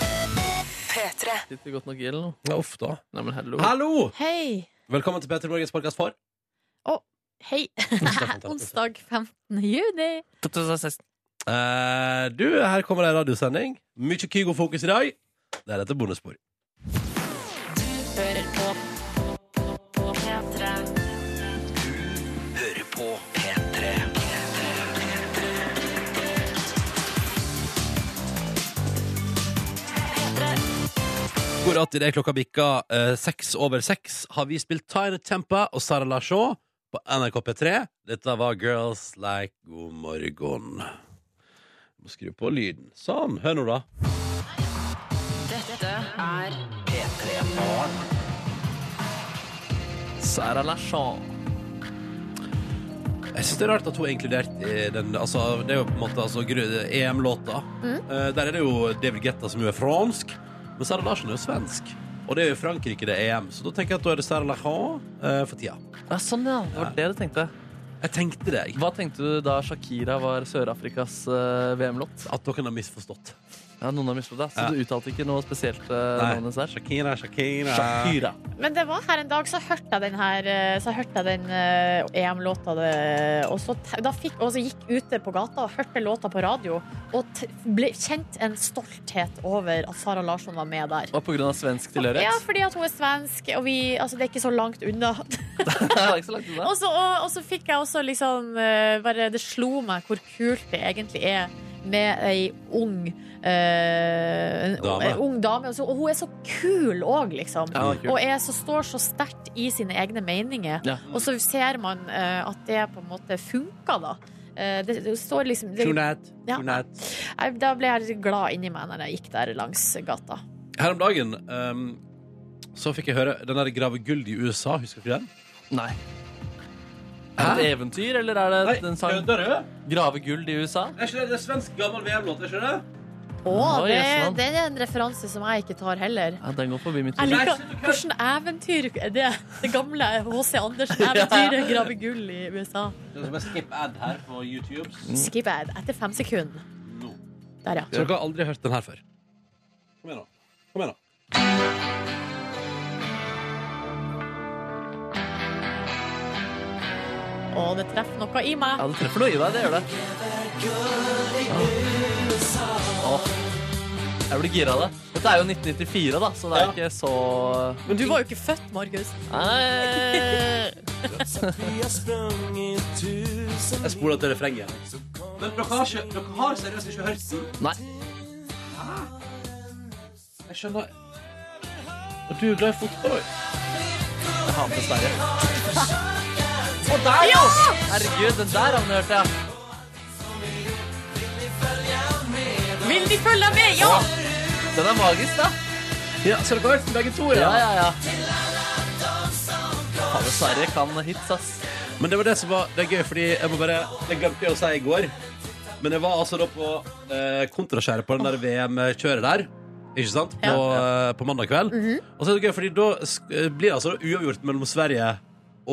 P3. Sitter godt nok i eller noe? Ja, Uff, da. Nei, men hello. Hallo! Hei. Velkommen til Petter Morgens podkast for Hei. Onsdag. Onsdag 15. juni. 2016. Eh, Du, her kommer ei radiosending. Mye Kygo-fokus i dag. Det er dette bonusspor. God natt idet klokka bikka eh, seks over seks, har vi spilt Tyre Tempa og Sara Larshaw på NRK P3. Dette var Girls Like God morgen. Jeg må skru på lyden. Sånn. Hør nå, da. Dette er Sarah Lachon. Jeg synes det er rart at hun er inkludert i den altså, Det er jo på en måte altså, gru- EM-låta. Mm. Eh, der er det jo David Guetta som jo er fransk, men Sara Larsen er jo svensk. Og det er jo i Frankrike det er EM, så da tenker jeg at da er det Sara Lacan eh, for tida. Ja, sånn, ja. Det var det du tenkte. Jeg tenkte det, jeg. Hva tenkte du da Shakira var Sør-Afrikas eh, VM-låt? At noen har misforstått. Ja, noen har misforstått deg, så Ja. du uttalte ikke noe spesielt eh, Nei. navn hennes der? Shakira, Shakira. Shakira. Men det var her en dag, så hørte jeg den her eh, Så hørte jeg den eh, EM-låta det- Og så te- da fikk, og så gikk jeg ute på gata og hørte låta på radio og t ble kjent en stolthet over at Sara Larsson var med der. Og på grunn av svensk Ja, tilhørighet? fordi at hun er svensk, og vi, altså, det er ikke så langt unna. Det er ikke så langt unna. Og så, og, og så fikk jeg også liksom eh, bare, Det slo meg hvor kult det egentlig er med ei ung eh, en, Dame. en ung dame. Og, så, og hun er så kul òg, Ja, liksom. det var Og kult. er så, står så sterkt i sine egne meninger. Ja. Og så ser man eh, at det på en måte funker, da. Eh, det, det står liksom det, Shunat, Ja. Shunat. jeg, Da ble jeg litt glad inni meg når jeg gikk der langs gata. Her om dagen ehm, så fikk jeg høre den der Grave Guld i USA, husker du den? Nei. Er det et eventyr, eller er det en sang Dørø? Grave gull i USA? Er ikke det, det er svensk gammel VM-låt, er ikke det? Å, Oi, det, sann. det er en referanse som jeg ikke tar heller. Ja, den går forbi mitt Jeg hode. liker hvordan eventyr er det. Det gamle H.C. Andersen-eventyret grave gull i USA. Det som er skip ad her på YouTube. Skip ad etter fem sekunder. Nå. Der, Så ja. dere har aldri hørt den her før? Kom igjen, da. Kom igjen da. Å, det treffer noe i meg. Ja, det treffer noe i deg, det gjør det. Ja. Åh. Jeg blir gira av det. Dette er jo 1994, da, så det er Ja. ikke så Men du var jo ikke født, Markus. Eh, Nei. Jeg spoler til refrenget. Men dere har, ikke, dere har seriøst ikke hørt den? Nei. Jeg skjønner Og du er glad i fotball òg? Jeg hater Sverige. Og der, ja! Herregud, den der har vi hørt, ja. Vil de følge deg med? Ja! Den er magisk, da. Ja, så dere har hørt den begge to? Ja, ja, ja. Faen, Sverige kan hits, ass. Men det var det som var det er gøy, fordi jeg må bare Det glemte jeg å si i går. Men jeg var altså da på eh, kontraskjæret på den der VM-kjøret der. Ikke sant? På, eh, på mandag kveld. Og så er det gøy, fordi da sk- eh, blir det altså da uavgjort mellom Sverige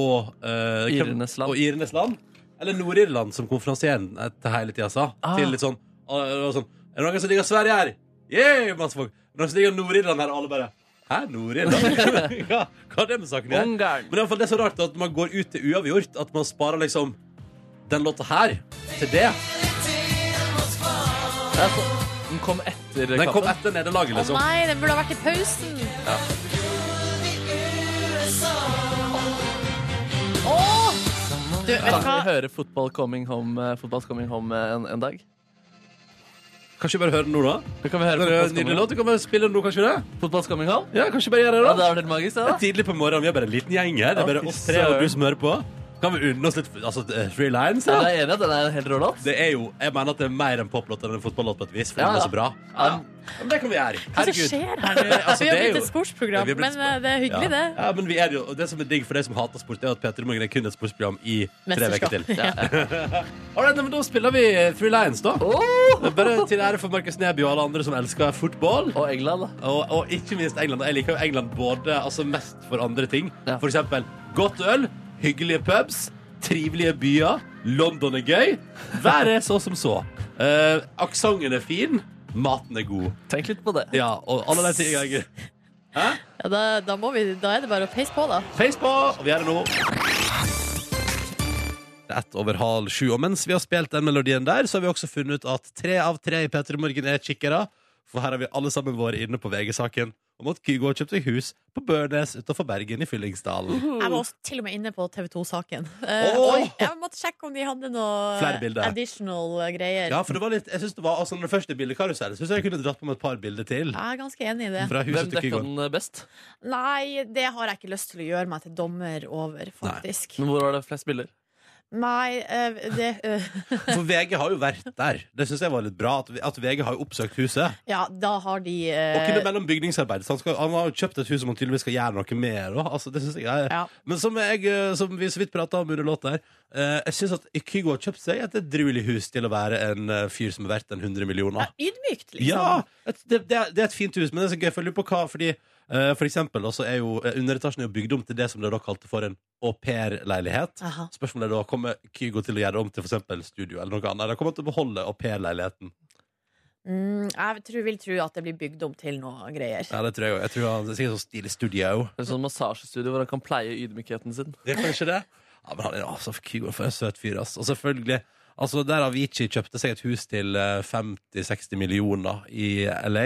og eh, hvem- Irernes land. Og Irernes land. Eller Nord-Irland, som konferansieren etter hele tida sa. Ah. Til litt sånn, ah, det var sånn Er det noen som digger Sverige her? Yeah, masse folk. Er det noen som digger Nord-Irland her? Og alle bare Hæ, Nord-Irland? ja, hva er det med saken her? Ungarn. Men i alle fall, det er så rart at man går ut til uavgjort. At man sparer liksom den låta her til det. Ja, så- Den kom etter Den kom kampen. etter nederlaget, Å liksom. nei, den burde ha vært i pausen. Å! Du, vet du Kan hva? vi høre Football Coming Home, eh, Football's coming home eh, en, en dag? Kanskje vi bare hører den nå, da? Da kan vi høre Det er jo Football's Coming en nydelig Home. låt. Du kan bare spille den nå, kanskje det? Football's coming home? Ja, kanskje bare Ja, gjøre det, det da? er vel helt magisk, det, Det da. er tidlig på morgenen. Vi er bare en liten gjeng her. Det er bare Ja, oss tre og du fy som hører på. Kan vi unne oss litt altså, Three Lines, Ja, da? jeg er enig i at den er en helt rå låt. Det er jo, Jeg mener at det er mer en poplåt enn en fotballåt på et vis, for Ja, den er ja. så bra. Ja. Men det kan vi gjøre. Hva som skjer her nå? Altså, vi har det er jo- blitt et sportsprogram, Ja, vi har blitt men eh, det er hyggelig, det. Ja, men vi er jo, og det som er digg for deg som hater sport, det er at Peter Morgen er kun et sportsprogram i tre uker Mesterskap. til. Ja, ja. All right, nei, men da spiller vi Three Lions, da. Bare til ære for Markus Neby og alle andre som elsker fotball. Og England, da. Og, og ikke minst England. Jeg liker jo England både altså mest for andre ting. Ja. For eksempel godt øl, hyggelige pubs, trivelige byer. London er gøy. Været er så som så. Uh, Eh, Aksenten er fin. Maten er god. Tenk litt på det. Ja, og alle de tingene jeg Ja, da, da, må vi, da er det bare å peise på, da. Face på, og vi gjør det nå. Det er ett over halv sju. Og mens vi har spilt den melodien der, så har vi også funnet ut at tre av tre i P3 Morgen er kikkere. For her har vi alle sammen vært inne på VG-saken om at Kygo har kjøpt seg hus på Børnes utenfor Bergen i Fyllingsdalen. Mhm. Jeg var også til og med inne på TV 2-saken. Åh! jeg måtte sjekke om de hadde noe Flere bilder. additional greier. Ja, for det var litt Jeg synes det var altså, Når det første bildekarusellen syns jeg jeg kunne dratt på med et par bilder til. Jeg er ganske enig i det. Fra huset Hvem til dekka Kygo. den best? Nei, det har jeg ikke lyst til å gjøre meg til dommer over, faktisk. Men Hvor var det flest bilder? Nei, eh, det eh, For VG har jo vært der. Det syns jeg var litt bra. At, at VG har jo oppsøkt huset. Ja, da har de Og eh, kunne mellom bygningsarbeid. Så han, skal, han har jo kjøpt et hus som han tydeligvis skal gjøre noe med. da. Altså, det synes jeg er... Ja. Men som, jeg, eh, som vi så vidt prata om under låta her, eh, jeg syns at Kygo har kjøpt seg et edruelig hus til å være en eh, fyr som er verdt en 100 millioner. Ydmykt, liksom. Ja! Et, det, det, er, det er et fint hus, men det er så gøy. For jeg lurer på hva fordi eh, for eksempel, da, så er jo eh, Underetasjen er jo bygd om til det som dere kalte for en aupairleilighet. Aha. Spørsmålet er da, kommer Kygo til å gjøre det om til for eksempel studio eller noe annet? Eller kommer han til å beholde aupairleiligheten? Mm, jeg tror, vil tro at det blir bygd om til noe greier. Ja, det tror jeg jo. Jeg tror han det er sikkert sånn stilig studio. Eller sånn massasjestudio hvor han kan pleie ydmykheten sin. Det er kanskje det. Ja, men han er altså, Kygo er for en søt fyr, ass. Og selvfølgelig altså, Der Avicii kjøpte seg et hus til eh, 50-60 millioner i LA,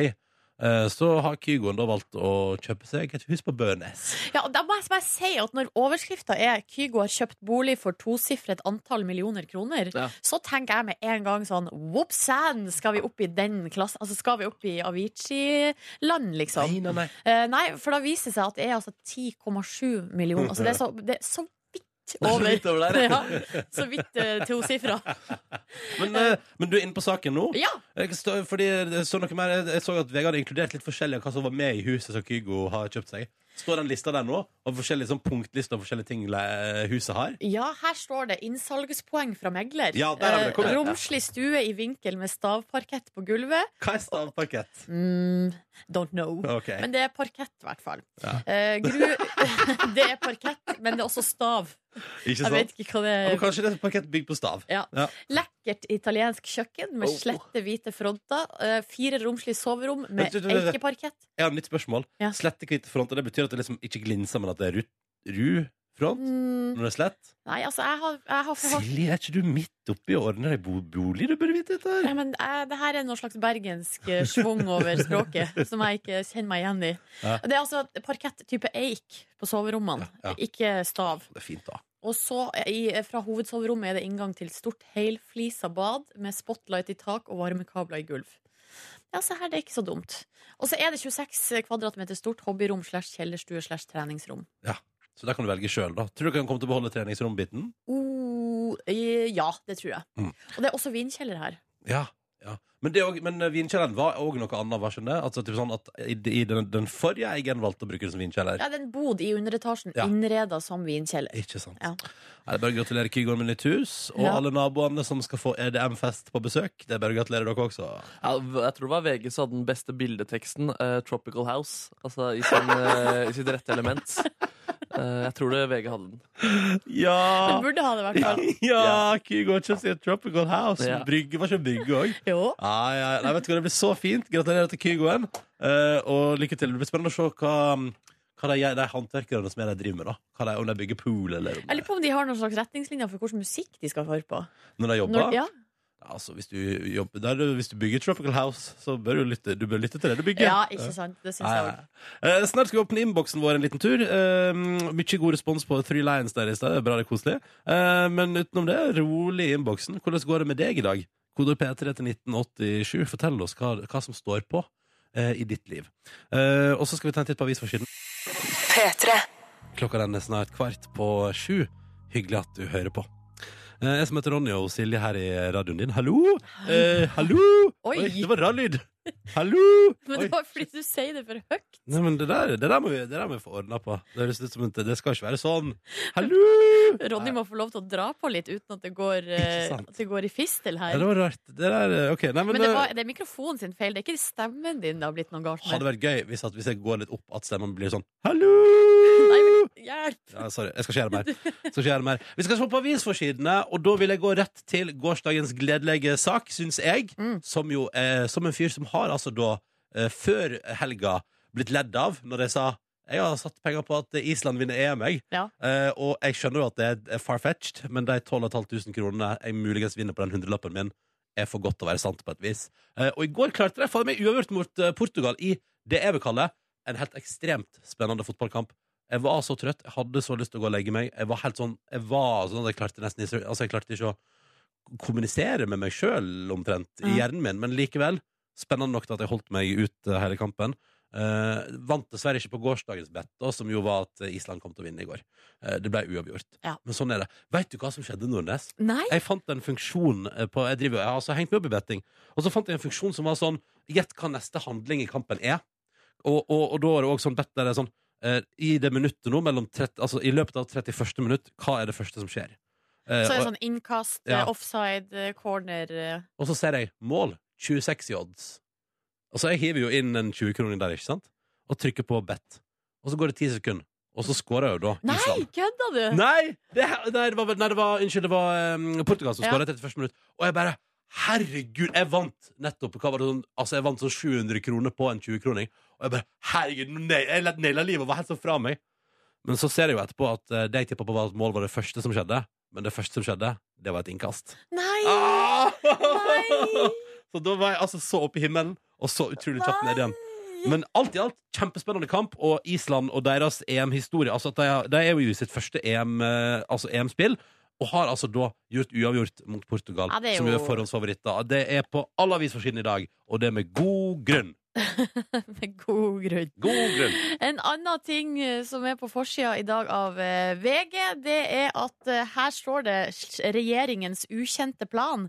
eh, så har Kygoen da valgt å kjøpe seg et hus på Bønes. Ja, og da må jeg bare si at Når overskrifta er 'Kygo har kjøpt bolig for tosifret antall millioner kroner', Ja. så tenker jeg med en gang sånn Whoopsan! Skal vi opp i den klassen? Altså, skal vi opp i Avicii-land, liksom? Nei, nei, nei. Eh, nei, for da viser det seg at det er altså 10,7 millioner. Altså, det er så, det er så vidt over. Litt over der. Ja, så vidt eh, tosifra. Men, eh, men du er inne på saken nå? Ja, Jeg, stå, fordi jeg, så noe mer, jeg så at VG hadde inkludert litt forskjellig av hva som var med i huset som Kygo har kjøpt seg. Står den lista der nå? Og forskjellige sånn, punktlister av forskjellige ting le- huset har? ja, her står det innsalgspoeng fra megler. Ja, der er det. Kom Eh, igjen. Romslig stue i vinkel med stavparkett på gulvet. Hva er stavparkett? Mm, don't know. Ok. Men det er parkett, i hvert fall. Ja. Eh, gru, det er parkett, men det er også stav. Ikke Jeg vet sant? ikke eh, hva det Ja, men er. kanskje det er parkett bygd på stav? Ja. Ja. Lekkert italiensk kjøkken med Oh. slette, hvite fronter. eh, fire romslige soverom med Vent, vent, vent, vent. eikeparkett. Jeg har et nytt spørsmål. Ja. Slette hvite fronter, det betyr at det liksom ikke glinser, men at det er ru, ru front Mm, når det er slett? nei, altså, jeg har, jeg har forhånd... Silje, er ikke du midt oppi å ordne deg bo bolig? Du burde vite dette Nei, her. men eh, det her er noe slags bergensk eh, svung over språket som jeg ikke kjenner meg igjen i. Ja. Det er altså parkett type eik på soverommene, Ja, ja. ikke stav. Det er fint, da. Og så eh, i, fra hovedsoverommet er det inngang til stort helflisa bad med spotlight i tak og varmekabler i gulv. Ja, se her, det er ikke så dumt. Og så er det 26 kvadratmeter stort hobbyrom slash kjellerstue slash treningsrom. Så der kan du velge sjøl, da. Tror du kan komme til å beholde treningsrombiten? Oh, eh, ja, det tror jeg. Mm. Og det er også vinkjeller her. Ja. ja. Men, det er også- men eh, vinkjelleren var òg noe annet, var ikke det? Altså, typ sånn at i, i den, den forrige eieren valgte å bruke det som vinkjeller. Ja, det er en bod i underetasjen Ja. innreda som vinkjeller. Ikke sant. Ja. Nei, det er bare å gratulere Kygoen med nytt hus, og Ja. alle naboene som skal få EDM-fest på besøk. Det er bare å gratulere dere også. Ja, jeg tror det var VG som hadde den beste bildeteksten. eh, 'Tropical House'. Altså i, sin, eh, i sitt rette element. Eh, jeg tror det VG hadde den. Det Ja! burde ha det, i hvert fall. Ja, Kygo har kjøpt seg et Tropical House. Ja. Brygge var ikke brygge òg. Jo. Ja, ja. Nei, vet du hva, Det blir så fint. Gratulerer til Kygoen. Eh, og lykke til. Det blir spennende å se hva, mm, hva de, gjør- de håndverkerne som er der, driver med. da hva de, Om de bygger pool, eller om Jeg lurer de, på om de har noen slags retningslinjer for hvilken musikk de skal høre på. når de jobber. Når, ja. Altså, hvis, du jobber der, du- hvis du bygger Tropical House, så bør du lytte, du bør lytte til det du bygger. ja, ikke sant? Det syns jeg Nei, òg. nei. Eh, snart skal vi åpne innboksen vår en liten tur. Eh, mye god respons på Three Lions der i sted. Det er Bra, det er koselig. Eh, men utenom det, rolig i innboksen. Hvordan går det med deg i dag? Kodord P3 til 1987. Fortell oss hva, hva som står på eh, i ditt liv. Eh, og så skal vi ta en titt på avisforsiden. P3. Klokka den er snart kvart på sju. Hyggelig at du hører på. Eh, jeg som heter Ronny og Silje her i radioen din. Hallo! Eh, hallo! Oi. det var rar lyd! Hallo! Oi. Men det var fordi du sier det for høyt. Nei, men det der, det der må vi, det der må vi få ordna på. Det høres ut som at det skal ikke være sånn. Hallo! Ronny må få lov til å dra på litt uten at det går, Ikke eh, sant. at det går i fistel Ja, her. det var rart. Det der, eh, ok, nei, men, Men det, det- var, det er mikrofonen sin feil, det er ikke stemmen din det har blitt noe galt hadde med. vært gøy hvis, at, hvis jeg går litt opp at stemmen blir sånn Hallo! Nei, men Hjelp! Ja, sorry. Jeg skal ikke gjøre mer. Skal ikke gjøre mer. Vi skal se på avisforsidene, og da vil jeg gå rett til gårsdagens gledelige sak, syns jeg. Mm. Som jo er som en fyr som har altså da, eh, før helga, blitt ledd av når jeg sa jeg har satt penger på at Island vinner EM, jeg. Ja. Eh, og jeg skjønner jo at det er eh, far-fetched, men de 12 500 kronene jeg muligens vinner på den hundrelappen min, er for godt til å være sant på et vis. Eh, og i går klarte de faen meg uavgjort mot eh, Portugal i det jeg vil kalle en helt ekstremt spennende fotballkamp. Jeg var så trøtt, jeg hadde så lyst til å gå og legge meg. Jeg var helt sånn, jeg var sånn at jeg klarte nesten ikke- altså jeg klarte ikke å kommunisere med meg sjøl omtrent i Ja. hjernen min, men likevel spennende nok til at jeg holdt meg ut eh, hele kampen. Eh, vant dessverre ikke på gårsdagens bet, da, som jo var at Island kom til å vinne i går. Eh, det ble uavgjort. Ja. Men sånn er det. Veit du hva som skjedde, Nordnes? Nei! Jeg fant en funksjon eh, på Jeg, driver, jeg har altså hengt meg opp i betting. Og så fant jeg en funksjon som var sånn Gjett hva neste handling i kampen er. Og, og, og da er det også sånn bett der det er sånn eh, I det minuttet nå, mellom 30, altså i løpet av 31. minutt, hva er det første som skjer? Eh, Så er det og, sånn innkast, Ja. eh, offside, eh, corner eh. og så ser jeg mål. 26 i odds. Og så jeg hiver jo inn en 20-kroning der, ikke sant? Og trykker på bet. Og så går det 10 sekunder. Og så scorer jo da Nei, Island. kødda du?! Nei! Det, nei, det var, nei, det var Unnskyld, det var um, Portugal som Ja. skåra etter første minutt. Og jeg bare Herregud, jeg vant nettopp hva var det sånn, Altså, jeg vant sånn 700 kroner på en 20-kroning. Og jeg bare Herregud, nå nail- jeg naila livet og var helt sånn fra meg. Men så ser jeg jo etterpå at eh, det jeg tippa på, var at mål var det første som skjedde. Men det første som skjedde, det var et innkast. Nei! Ah! Nei! Så da var jeg altså så opp i himmelen, og så utrolig kjapt ned igjen. Men alt i alt, kjempespennende kamp, og Island og deres EM-historie altså at de, har- de er jo i sitt første EM, eh, altså EM-spill, og har altså da gjort uavgjort mot Portugal, Ja, det er som jo er jo- forhåndsfavoritter. Det er på alle avisforsiden i dag, og det er med god grunn. Med god grunn. God grunn. En annen ting eh, som er på forsida i dag av eh, VG, det er at eh, her står det s- 'Regjeringens ukjente plan'.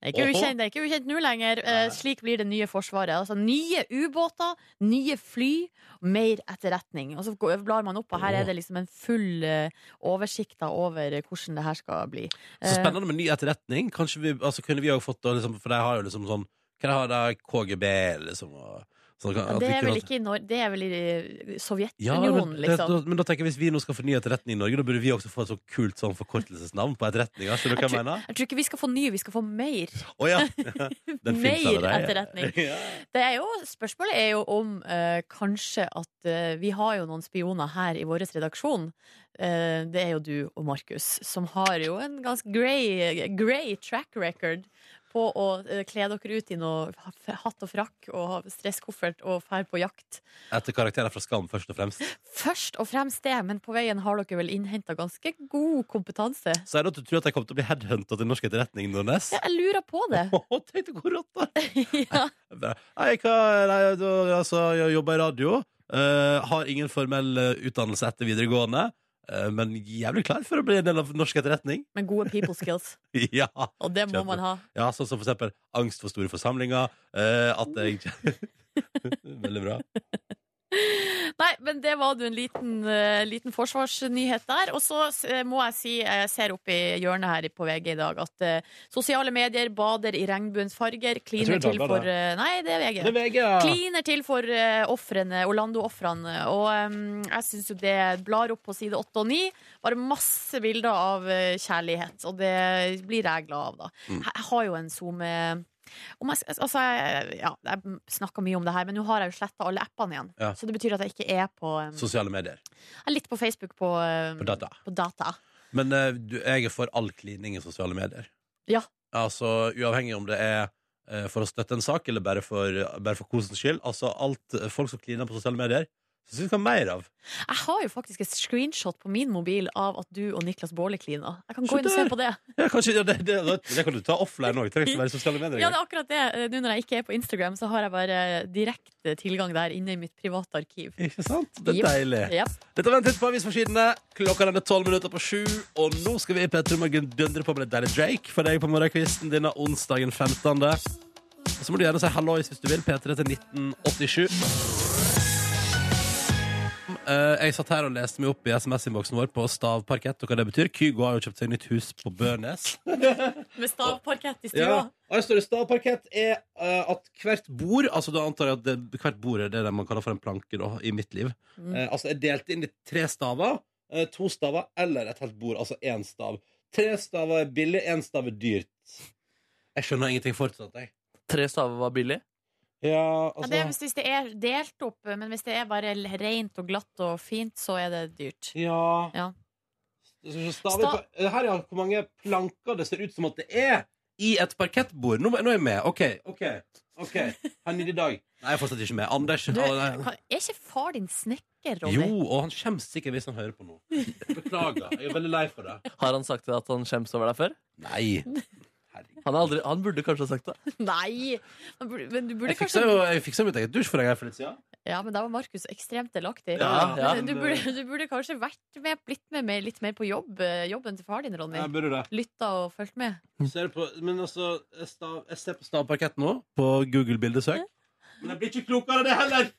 Det er ikke Åhå. ukjent, det er ikke ukjent nå lenger. Eh, Slik blir det nye Forsvaret. Altså Nye ubåter, nye fly, mer etterretning. Og så går- blar man opp, og her Åh. er det liksom en full eh, oversikt da over eh, hvordan det her skal bli. Eh, Så spennende med ny etterretning. Kanskje vi, altså kunne vi òg fått da, liksom, for de har jo liksom sånn Hva de har de? KGB, liksom? Og, sånn, Eh, at vi Det er kunne- vel ikke i Norge, det er vel i Ja, Sovjetunionen, men, liksom. da, men da tenker jeg Hvis vi nå skal få ny etterretning i Norge, da burde vi også få et sånt kult sånn forkortelsesnavn på etterretninga. Skjønner du hva jeg mener? Jeg tror ikke vi skal få nye, vi skal få mer. Å ja. Den finnes Mer allerede. etterretning. Ja. Det er jo, spørsmålet er jo om eh, kanskje at eh, vi har jo noen spioner her i vår redaksjon. Eh, det er jo du og Markus, som har jo en ganske grey, grey track record på å eh, kle dere ut i noe f- hatt og frakk og ha stresskoffert og fær på jakt. Etter karakterer fra Skam, først og fremst. Først og fremst det, men på veien har dere vel innhenta ganske god kompetanse. Så er det at du tror at jeg kommer til å bli headhunta til norsk etterretning, Nordnes? Ja, jeg lurer på det. Åh, Tenk deg hvor rått, da! ja. Jeg bare, Nei, hva, nei da- altså, jeg jobber i radio. eh, har ingen formell eh, utdannelse etter videregående. eh, men jævlig klar for å bli en del av norsk etterretning. Med gode people skills. ja. Og det må man ha. ja, sånn som for eksempel angst for store forsamlinger. eh, at jeg Veldig bra. Nei, men det var du en liten, eh, liten forsvarsnyhet der. Og så eh, må jeg si, jeg ser opp i hjørnet her på VG i dag, at eh, sosiale medier bader i regnbuens farger. Kliner Jeg tror det er til for eh, Nei, det er VG. Det er VG, ja. Kliner til for eh, ofrene, Orlando-ofrene. Og eh, jeg syns jo det blar opp på side åtte og ni. Bare masse bilder av eh, kjærlighet, og det blir jeg glad av, da. Mm. Jeg har jo en SoMe om jeg, altså, jeg, ja, jeg snakka mye om det her, men nå har jeg jo sletta alle appene igjen. Ja. Så det betyr at jeg ikke er på eh, Sosiale medier. Jeg er litt på Facebook på, eh, På data. på data. Men eh, du, jeg er for all klining i sosiale medier. Ja. Altså, Uavhengig om det er eh, for å støtte en sak eller bare for, bare for kosens skyld. Altså, alt eh, Folk som kliner på sosiale medier, syns vi skal ha mer av. Jeg har jo faktisk et screenshot på min mobil av at du og Niklas Baarli klina. Jeg kan Se gå inn og se der! på det. Ja, kanskje, ja, det, det, det, det kan du ta offline òg. Trenger ikke være i sosiale medier. Ja, det er akkurat det. Eh, Nå når jeg ikke er på Instagram, så har jeg bare eh, direkte tilgang der inne i mitt private arkiv. Ikke sant? Det er Jepp. deilig. Yep. Dette var en titt på avisforsidene. Klokka den er tolv minutter på sju, og nå skal vi i P3 Morgen dundre på med litt Daddy Drake for deg på morgenkvisten denne onsdagen 15. Og så må du gjerne si hallois hvis du vil. P3 til 1987. eh, jeg satt her og leste meg opp i SMS-innboksen vår på stavparkett og hva det betyr. Kygo har jo kjøpt seg nytt hus på Bønes. Med stavparkett i stua. Og her står det stavparkett er eh, at hvert bord Altså da antar jeg at det, hvert bord er det man kaller for en planke da, i mitt liv. Mm. Eh, altså er delt inn i tre staver, eh, to staver eller et helt bord. Altså én stav. Tre staver er billig, én stav er dyrt. Jeg skjønner ingenting fortsatt, jeg. Tre staver var billig. Ja, Ja, altså det er hvis, hvis det er delt opp, eh, men hvis det er bare rent og glatt og fint, så er det dyrt. Ja. Ja. Så Staver, på- her er hvor mange planker det ser ut som at det er i et parkettbord. Nå, nå er jeg med. OK. ok, ok Han er i dag. Nei, jeg er fortsatt ikke med. Anders Du, å, nei. kan, er ikke far din snekker, Jo, Ronny? og han kommer sikkert hvis han hører på nå. Beklager. Jeg er veldig lei for det. Har han sagt at han skjems over deg før? Nei. Herregud. Han, har aldri, han burde kanskje ha sagt det. Nei! Men burde- Men du burde Jeg fiksa kanskje jo jeg fiksa mitt eget dusj for deg her for litt siden. Ja, men da var Markus ekstremt delaktig. Ja, ja. Men eh, Du, burde, du burde kanskje vært med, blitt med, med litt mer på jobb, eh, jobben til far din, Ronny. Jeg burde det. Lytta og fulgt med. Ser du på, men altså, jeg, stav, jeg ser på stavparketten nå, på Google bildesøk. Men jeg blir ikke klokere av det heller!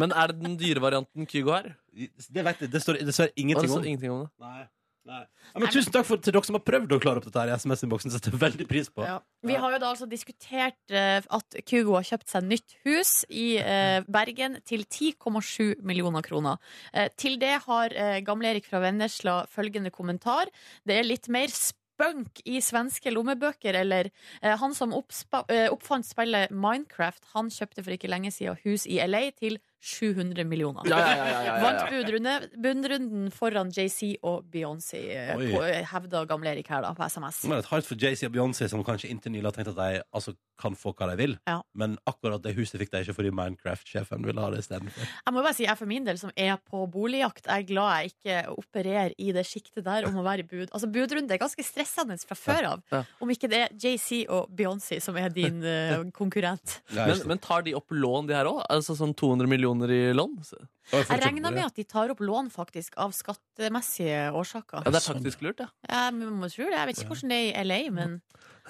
Men er det den dyre varianten Kygo har? Det vet jeg. Det står dessverre Og det ingenting om. står ingenting om det. Nei. Nei. Ja, men tusen takk for, til dere som har prøvd å klare opp dette her i SMS-innboksen. setter jeg veldig pris på Ja. Vi har jo da altså diskutert eh, at Kygo har kjøpt seg nytt hus i eh, Bergen til 10,7 millioner kroner. Eh, til det har eh, Gamle-Erik fra Vennesla følgende kommentar. Det er litt mer spunk i svenske lommebøker, eller eh, han som oppspa, eh, oppfant spillet Minecraft, han kjøpte for ikke lenge siden hus i LA til 700 millioner. Ja, ja, ja, ja, ja, Vant ja. budrunde- budrunden foran JC og Beyoncé, eh, Oi. på- hevda Gamle-Erik her da, på SMS. Det er et hardt for Jay-Z og Beyoncé, som kanskje inntil nylig har tenkt at de altså, kan få hva de vil. Ja. Men akkurat det huset fikk de ikke fordi Minecraft-sjefen ville ha det istedenfor. Jeg må bare si, jeg for min del som er på boligjakt, jeg er glad jeg ikke opererer i det siktet der om å være i bud. Altså Budrunde er ganske stressende fra før av. Ja. Om ikke det er JC og Beyoncé som er din eh, konkurrent. Men, men tar de opp lån, de her òg? Altså sånn 200 millioner i lån? Jeg regner med at de tar opp lån faktisk av skattemessige årsaker. Ja, det er taktisk lurt, ja. Jeg må tro det. Jeg vet ikke hvordan det er i LA, men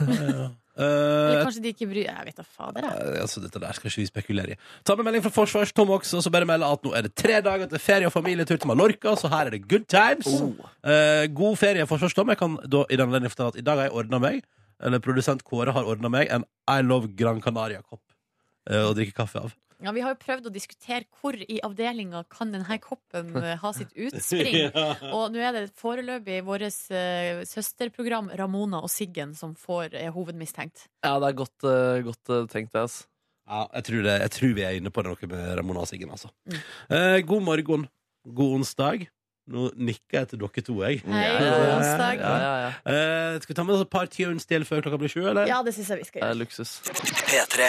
Eller Uh, kanskje de ikke bryr Jeg vet da fader, jeg. altså, dette der skal ikke vi spekulere i. Ta med melding fra Forsvars Tom også, så bare melder at nå er det tre dager til ferie og familietur til Mallorca, så her er det good times. Oh. Eh, god ferie, forsvarsdom. Jeg kan da i den anledning fortelle at i dag har jeg ordna meg, eller produsent Kåre har ordna meg, en I love Gran Canaria-kopp eh, å drikke kaffe av. Ja, vi har jo prøvd å diskutere hvor i avdelinga kan denne koppen eh, ha sitt utspring. Og nå er det foreløpig vårt søsterprogram Ramona og Siggen som får, er hovedmistenkt. Ja, det er godt, eh, godt eh, tenkt, det. ass. Ja, jeg tror, det, jeg tror vi er inne på noe med Ramona og Siggen, altså. Mm. Eh, god morgen. God onsdag. Nå nikker jeg til dere to, jeg. Hei, Ja, god ja, onsdag. Ja, ja, ja. Eh, skal vi ta med oss et par tunes til før klokka blir sju, eller? Ja, det syns jeg vi skal Det er gjøre. luksus.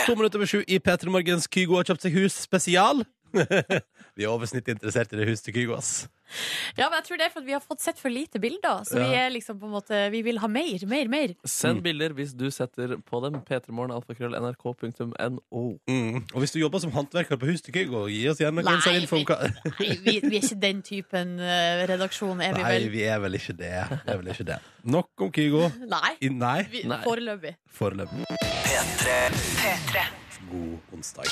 To minutter over sju i P3 Morgens Kygo har kjøpt seg hus spesial. vi er over snittet interessert i det huset til Kygo, ass. Ja, men jeg tror det er for at vi har fått sett for lite bilder. Så vi er liksom på en måte Vi vil ha mer, mer, mer. Send bilder hvis du setter på dem. p3morgen.nrk.no. Mm. Og hvis du jobber som håndverker på Hus til Kygo, gi oss gjerne Nei, noen info om hva Nei, vi, vi er ikke den typen eh, redaksjon, er vi Nei, vel? vi er vel ikke det. Vi Er vel ikke det. Nok om Kygo. Nei. I, nei, Vi, Nei. foreløpig. foreløpig. God onsdag.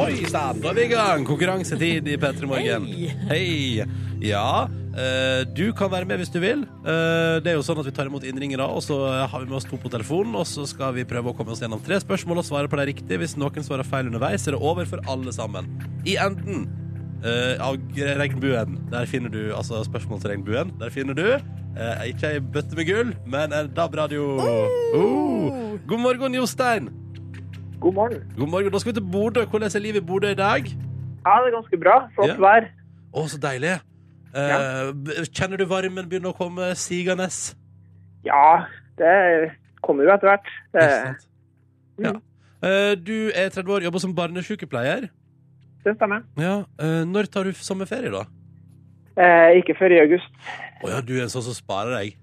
Oi sann, da er vi i gang! Konkurransetid i P3 Morgen. Hei. Hei! Ja, eh, du kan være med hvis du vil. Eh, det er jo sånn at Vi tar imot innringere, og så eh, har vi med oss to på telefonen. Og så skal vi prøve å komme oss gjennom tre spørsmål og svare på det riktig. Hvis noen svarer feil underveis, er det over for alle sammen. I enden eh, av regnbuen. Der finner du altså spørsmål til regnbuen. Der finner du eh, ikke ei bøtte med gull, men en DAB-radio. Oh. God morgen, Jostein. God morgen. God morgen, da skal vi til Bodø. Hvordan er livet i Bodø i dag? Ja, det er ganske bra. Flott Ja. vær. Å, så deilig. Eh, b- Kjenner du varmen begynner å komme sigende? Ja, det kommer jo etter hvert. Det, Ikke sant? Ja. Eh, du er 30 år, jobber som barnesykepleier. det stemmer. Ja. eh, når tar du f- sommerferie, da? Å Eh, ikke før i august. ja, du er en sånn som sparer deg.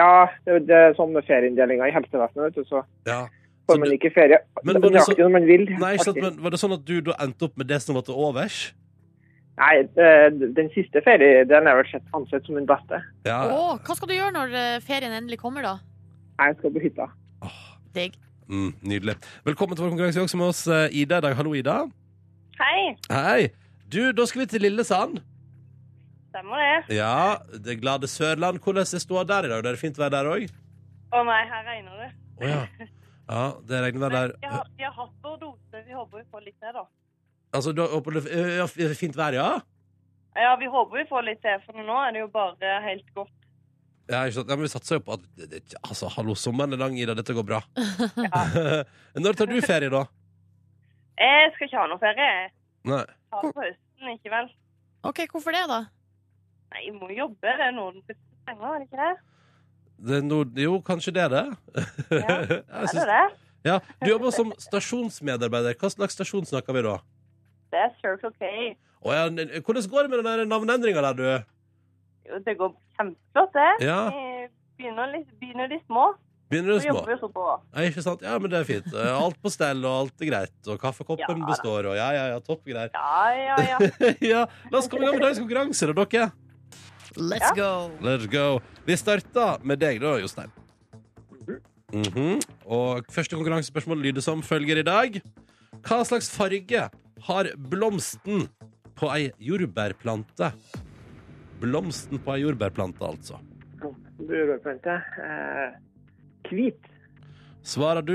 Ja, det, er- det er sånn med ferieinndelinger i helsevesenet, vet du, så Ja. Så får man du- ikke ferie Men var det nøyaktig så- når man vil. Nei, ikke sant, Artig. men Var det sånn at du da endte opp med det som var til overs? Nei, det- den siste ferien den er vel sett ansett som den beste. Å, Ja. hva skal du gjøre når eh, ferien endelig kommer, da? Jeg skal på hytta. Digg. Mm, nydelig. Velkommen til vår konkurranse også med oss, eh, Ida. I dag, hallo, Ida. Hei. Hei. Du, da skal vi til Lillesand. Stemmer det. Ja, det glade Sørland. Hvordan er ståa der i dag? Det er fint vær der òg? Å nei, her regner det. Å ja. ja, det regner vær der. Men Jeg har, jeg har hatt vår dose. Vi håper vi får litt til, da. Altså, du har opplevd ja, fint vær, ja? Ja, vi håper vi får litt til, for nå er det jo bare helt godt. Ja, ikke sant? ja, men Vi satser jo på at det- det- Altså, hallo, sommeren er lang, Ida. Dette går bra. Når tar du ferie, da? Jeg skal ikke ha noe ferie. Jeg Nei. tar det på høsten, ikke vel? OK, hvorfor det, da? Nei, jeg må jobbe. Det er noen som putter penger, er det ikke det? Det er no, jo, kanskje det er det. Ja, Jeg Er syns- det det? ja. Du jobber som stasjonsmedarbeider. Hva slags stasjon snakker vi da? Det er Circle K. Å, ja, n- hvordan går det med den der navneendringa der, du? Jo, det går kjempeflott, det. Ja, Vi Begynner, litt, begynner de små, Begynner du så jobber små? vi så på. Ja, ikke sant? Ja, men det er fint. Eh, Alt på stell, og alt er greit. Og kaffekoppen Ja, da. består, og ja, ja, ja, topp greier. Ja, ja, ja. ja, la oss komme i gang med dagens konkurranse, da, dere. Let's go! Let's go. Vi starter med deg da, Jostein. Mhm. Og første konkurransespørsmål lyder som følger i dag. Hva slags farge har blomsten på ei jordbærplante? Blomsten på ei jordbærplante, altså. Burørplante. Eh, hvit. Svarer du?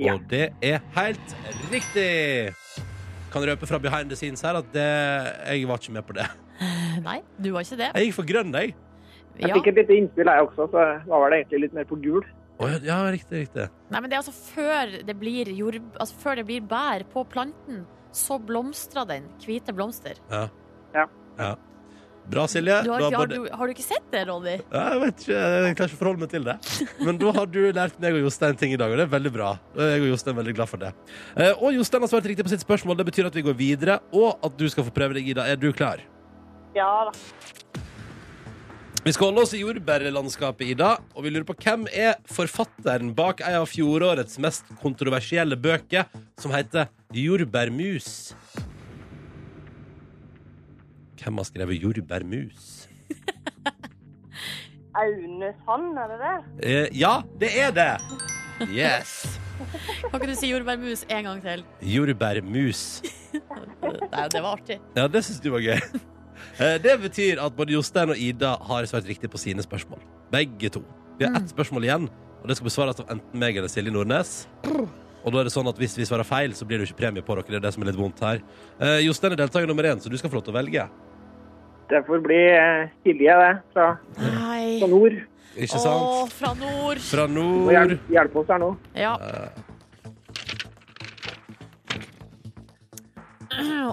Ja. Og det er helt riktig! Kan røpe fra behind the scenes her at det, jeg var ikke med på det. Nei, du var ikke det. Jeg gikk for grønn, jeg. Jeg Ja. fikk et lite innspill, jeg også, så jeg var vel egentlig litt mer på gul. Å, ja, ja, riktig, riktig. Nei, men det er altså før det blir, jord, altså før det blir bær på planten, så blomstrer den. Hvite blomster. Bra, Silje. Du Da har, var ikke, har, det- du, har du ikke sett det, Ronny? Ja, Jeg vet ikke, jeg klarer ikke å forholde meg til det. Men da har du lært meg og Jostein ting i dag, og det er veldig bra. Og Jeg og Jostein er veldig glad for det. Eh, Og Jostein har svart riktig på sitt spørsmål. Det betyr at vi går videre, og at du skal få prøve deg, Ida. Er du klar? ja da. Vi skal holde oss i jordbærlandskapet, Ida, og vi lurer på hvem er forfatteren bak ei av fjorårets mest kontroversielle bøker, som heter Jordbærmus. Hvem har skrevet Jordbærmus? Aune Sand, er det det? Eh, Ja, det er det! Yes! Kan ikke du si jordbærmus en gang til? Jordbærmus. Nei, det var artig. Ja, det syns du var gøy. Eh, Det betyr at både Jostein og Ida har svart riktig på sine spørsmål. Begge to. Vi har ett spørsmål igjen, og det skal besvares av enten meg eller Silje Nordnes. Og da er det sånn at Hvis vi svarer feil, så blir det jo ikke premie på dere. Det er det som er litt vondt her. Eh, Jostein er deltaker nummer én, så du skal få lov til å velge. Det får bli eh, Silje, det, fra, fra Nei. nord. Ikke Å, sant? fra nord. Fra Må nord. hjelpe, hjelpe oss her nå. Ja.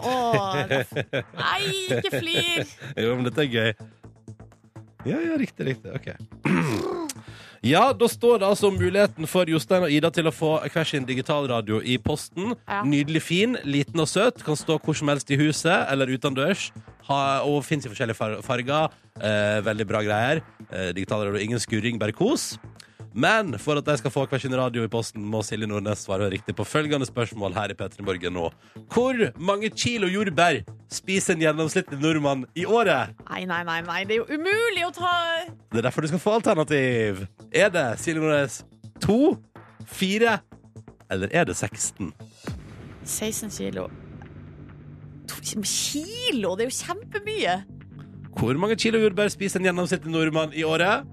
Å, da- nei, ikke flir! Jo, men dette er gøy. Ja, ja, riktig, riktig. Ok. Ja, da står det altså muligheten for Jostein og Ida til å få hver sin digitalradio i posten. Ja. Nydelig fin, liten og søt. Kan stå hvor som helst i huset eller utendørs. Ha, og fins i forskjellige far farger. Eh, veldig bra greier. Eh, digitalradio, ingen skurring, bare kos. Men for at de skal få hver sin radio i posten, må Silje Nordnes svare riktig på følgende spørsmål her i P3 Morgen nå. Hvor mange kilo jordbær spiser en gjennomsnittlig nordmann i året? Nei, nei, nei, nei. Det er jo umulig å ta Det er derfor du skal få alternativ. Er det Silje Nordnes 2, 4 eller er det 16? 16 kilo. To kilo? Det er jo kjempemye. Hvor mange kilo jordbær spiser en gjennomsnittlig nordmann i året?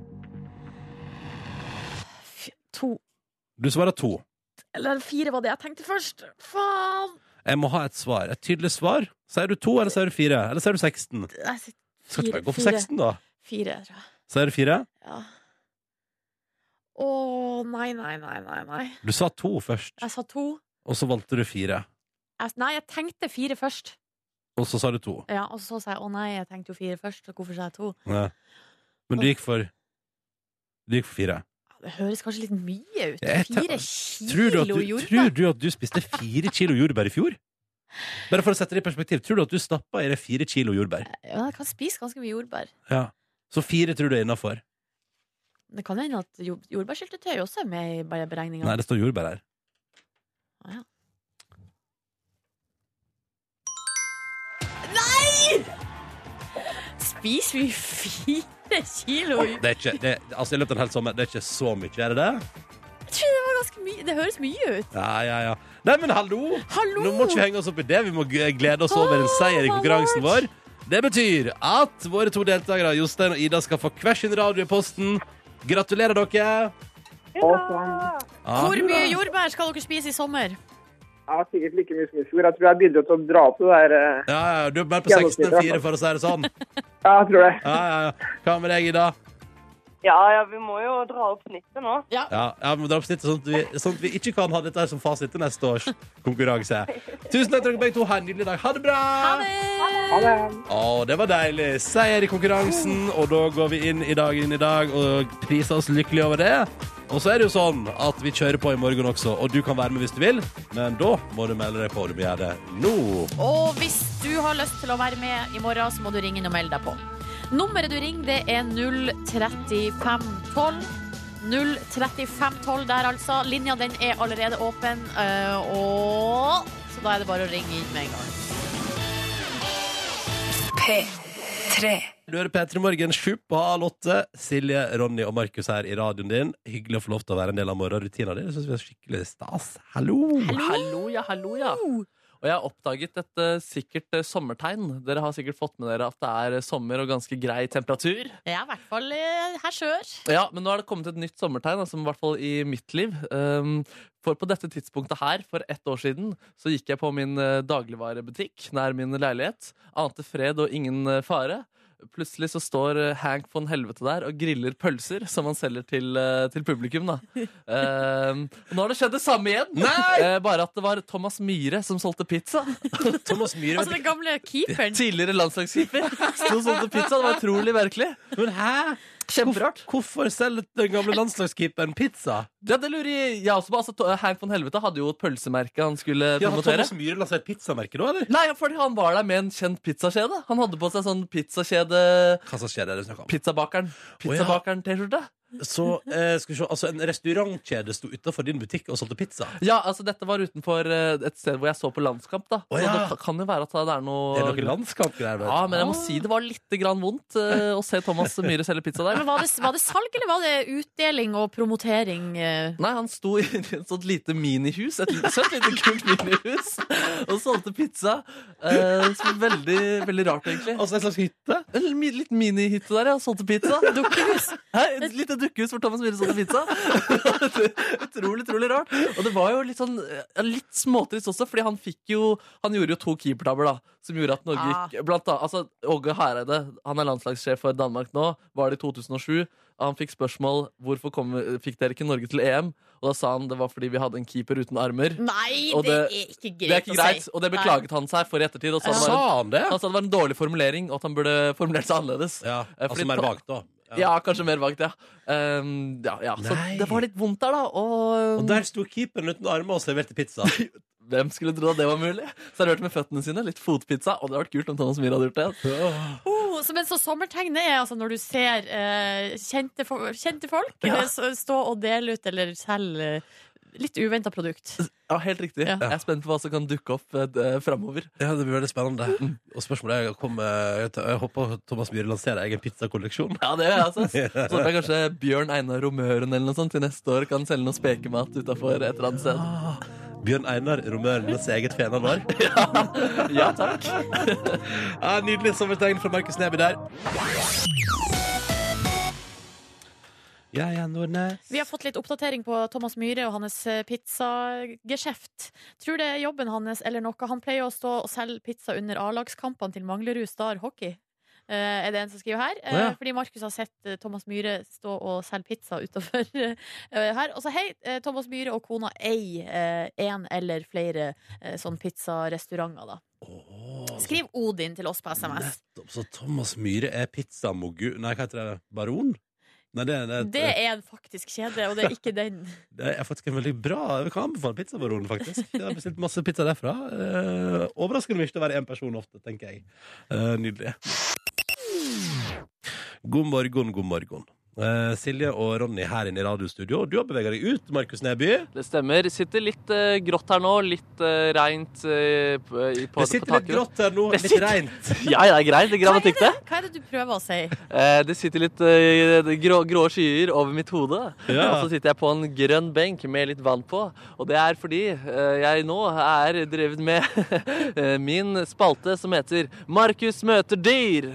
F- To Du svarer 2. Eller fire var det jeg tenkte først. Faen! Jeg må ha et svar. Et tydelig svar. Sier du 2, eller sier du 4? Eller sier du 16? Jeg sier Skal ikke fire, bare gå for fire. 16, da. Fire, tror jeg. Sier du 4? Ja. Å, nei, nei, nei, nei, nei. Du sa 2 først, Jeg sa to. og så valgte du 4. Jeg, nei, jeg tenkte fire først. Og så sa du 2. Ja, og så sa jeg å nei, jeg tenkte jo fire først, så hvorfor sa jeg to? Ja. Men du gikk for Du gikk for 4. Ja, Det høres kanskje litt mye ut. Jeg tar- Fire Tror du, at kilo du, tror jordbær? du at du spiste fire kilo jordbær i fjor? Bare for å sette det i perspektiv, tror du at du stappa i deg fire kilo jordbær? Ja, jeg kan spise ganske mye jordbær. Så fire tror du er innafor? Det kan hende at jo- jordbærsyltetøy også er med i bare beregninga. Nei, det står jordbær her. Ja. Spiser vi fire kilo? jord- Det er ikke, det, altså, I løpet av en hel sommer, det er ikke så mye, er det det? Jeg tror det var ganske mye. Det høres mye ut. Ja, ja, ja. Nei, men hallo! Hallo! Nå må ikke vi henge oss opp i det. Vi må g- glede oss over en seier i konkurransen vår. Det betyr at våre to deltakere, Jostein og Ida, skal få hver sin radio i posten. Gratulerer dere! Og sånn. Ja. Hvor mye jordbær skal dere spise i sommer? Jeg har sikkert like mye som i fjor. Jeg tror jeg bidro til å dra opp det der eh, Ja, ja, du er mer på 16 enn 4, for å si det sånn. Ja, jeg tror det. Ja, ja, ja. Hva med deg, Ida? Ja, ja, vi må jo dra opp snittet nå. Ja, ja men dra opp snittet sånn at, vi, sånn at vi ikke kan ha dette her som fasit til neste års konkurranse. Tusen takk til dere begge to. Ha en nydelig dag. Ha det bra! Ha det! Ha det. Å, det var deilig. Seier i konkurransen, og da går vi inn i dagen i dag og priser oss lykkelige over det. Og så er det jo sånn at vi kjører på i morgen også, og du kan være med hvis du vil, men da må du melde deg på. Du må gjøre det nå. Og hvis du har lyst til å være med i morgen, så må du ringe inn og melde deg på. Nummeret du ringer, det er 03512. 03512 der, altså. Linja den er allerede åpen. eh, Og Så da er det bare å ringe inn med en gang. P3. Du hører P3 Morgen sju på halv åtte. Silje, Ronny og Markus her i radioen din. Hyggelig å få lov til å være en del av morgenrutina di. Det syns vi er skikkelig stas. Hallo! Hallo, ja, hallo, ja. Og jeg har oppdaget et eh, sikkert eh, sommertegn. Dere har sikkert fått med dere at det er eh, sommer og ganske grei temperatur. Jeg er i hvert fall eh, her sør. Ja, men nå er det kommet et nytt sommertegn, altså, i hvert fall i mitt liv. Um, for på dette tidspunktet her, for ett år siden, så gikk jeg på min eh, dagligvarebutikk nær min leilighet. Ante fred og ingen eh, fare. Plutselig så står eh, Hank von Helvete der og griller pølser som han selger til, eh, til publikum. da. Um, og nå har det skjedd det samme igjen! Eh, bare at det var Thomas Myhre som solgte pizza. Thomas Myhre. Altså den gamle keeperen. Tidligere landslagskeeper. Sto og solgte pizza. Det var utrolig merkelig. Men hæ? Kjemperart. Hvorfor selger den gamle landslagskeeperen pizza? Ja, det lurer jeg jeg også på. Altså, to- Hank von Helvete hadde jo et pølsemerke han skulle Ja, har promotere. Thomas Myhre lansert pizzamerke nå, eller? Nei, fordi han var der med en kjent pizzakjede. Han hadde på seg sånn pizzakjede Hva som skjer, er det du snakker om? Pizzabakeren. Pizzabakeren-T-skjorte. Så eh, skal vi se, altså en restaurantkjede sto utenfor din butikk og solgte pizza. Ja, altså Dette var utenfor eh, et sted hvor jeg så på landskamp. da Å, Så ja. det kan jo være at det er noe Det er noen landskamper der, vet Ja, du. Men jeg må si det var litt grann vondt eh, å se Thomas Myhre selge pizza der. Men var det, var det salg, eller var det utdeling og promotering? eh? Nei, han sto i et sånt lite minihus, et lite- søtt lite kult minihus, og solgte pizza. Eh, som er veldig, veldig rart, egentlig. Altså en slags hytte? En mi- litt minihytte der, ja. Solgte pizza. Dukkehus. Hei, et lite dukkehus for Thomas Myhre solgte pizza. utrolig, utrolig rart. Og det var jo litt sånn ja, litt småtrist også, fordi han fikk jo Han gjorde jo to keepertabber, da, som gjorde at Norge Ah. gikk Blant annet altså, Åge Hareide, han er landslagssjef for Danmark nå, var det i 2007. Han fikk spørsmål hvorfor kom, fikk dere ikke Norge til EM, og da sa han det var fordi vi hadde en keeper uten armer. Nei, Og det, det- er ikke greit, Det er Mm. ikke greit, og det beklaget han seg for i ettertid. Og sa det Sa var en, han det? Altså, han sa det var en dårlig formulering, og at han burde formulert seg annerledes. Ja, altså fordi- mer vagt, da. Ja, kanskje mer vagt, ja. Ehm, ja, ja. Så Nei. det var litt vondt der, da. Og, um, Og der sto keeperen uten armer og serverte pizza. hvem skulle tro at det var mulig? Servert med føttene sine, litt fotpizza. Og det hadde vært kult om Thomas Myhre hadde gjort det. Oh, så, men så sommertegnet er altså når du ser eh, kjente, fo kjente folk Ja. eh, s- stå og dele ut eller selge eh, litt uventa produkt. Ja, helt riktig. Ja. Jeg er spent på hva som kan dukke opp uh, framover. Ja, det blir veldig spennende. Og spørsmålet er kom, eh, jeg t- Jeg håper Thomas Myhre lanserer egen pizzakolleksjon. Ja, det gjør jeg, altså. Så håper jeg kanskje Bjørn Einar Romøren eller noe sånt til neste år kan selge noe spekemat utafor et eller annet sted. Bjørn Einar Romørenes eget fenalår. Ja, takk. Ja, nydelig sommertegn fra Markus Neby der. Ja, ja, Nordnes. Vi har fått litt oppdatering på Thomas Myhre og hans eh, pizzageskjeft. Tror det er jobben hans eller noe. Han pleier å stå og selge pizza under A-lagskampene til Manglerud Star Hockey. eh, er det en som skriver her? Eh, Å, ja. Fordi Markus har sett eh, Thomas Myhre stå og selge pizza utafor her. Og så hei, eh, Thomas Myhre og kona eier én eller flere uh, sånn pizzarestauranter, da. Åh, Skriv Odin til oss på SMS. nettopp. Så Thomas Myhre er pizzamogu... Nei, hva heter det? Baron? Nei, det, det, Det er en faktisk kjede, og det er ikke den. det er faktisk en veldig bra Jeg kan anbefale Pizzabaronen, faktisk. Jeg har bestilt masse pizza derfra. Eh, overraskende mye til å være én person ofte, tenker jeg. Eh, nydelig. God morgen, god morgen. eh, Silje og Ronny her inne i radiostudio. Du har bevega deg ut, Markus Neby. Det stemmer. Sitter litt eh, grått her nå. Litt eh, reint eh, på, i- på, Det på sitter litt taket. grått her nå. Det Litt sitter- reint. Ja, ja, det er greit. Det er grammatikk, det. Hva er det du prøver å si? Eh, det sitter litt eh, det grå, grå skyer over mitt hode. Ja. Og så sitter jeg på en grønn benk med litt vann på. Og det er fordi eh, jeg nå er drevet med eh, min spalte som heter Markus møter dyr.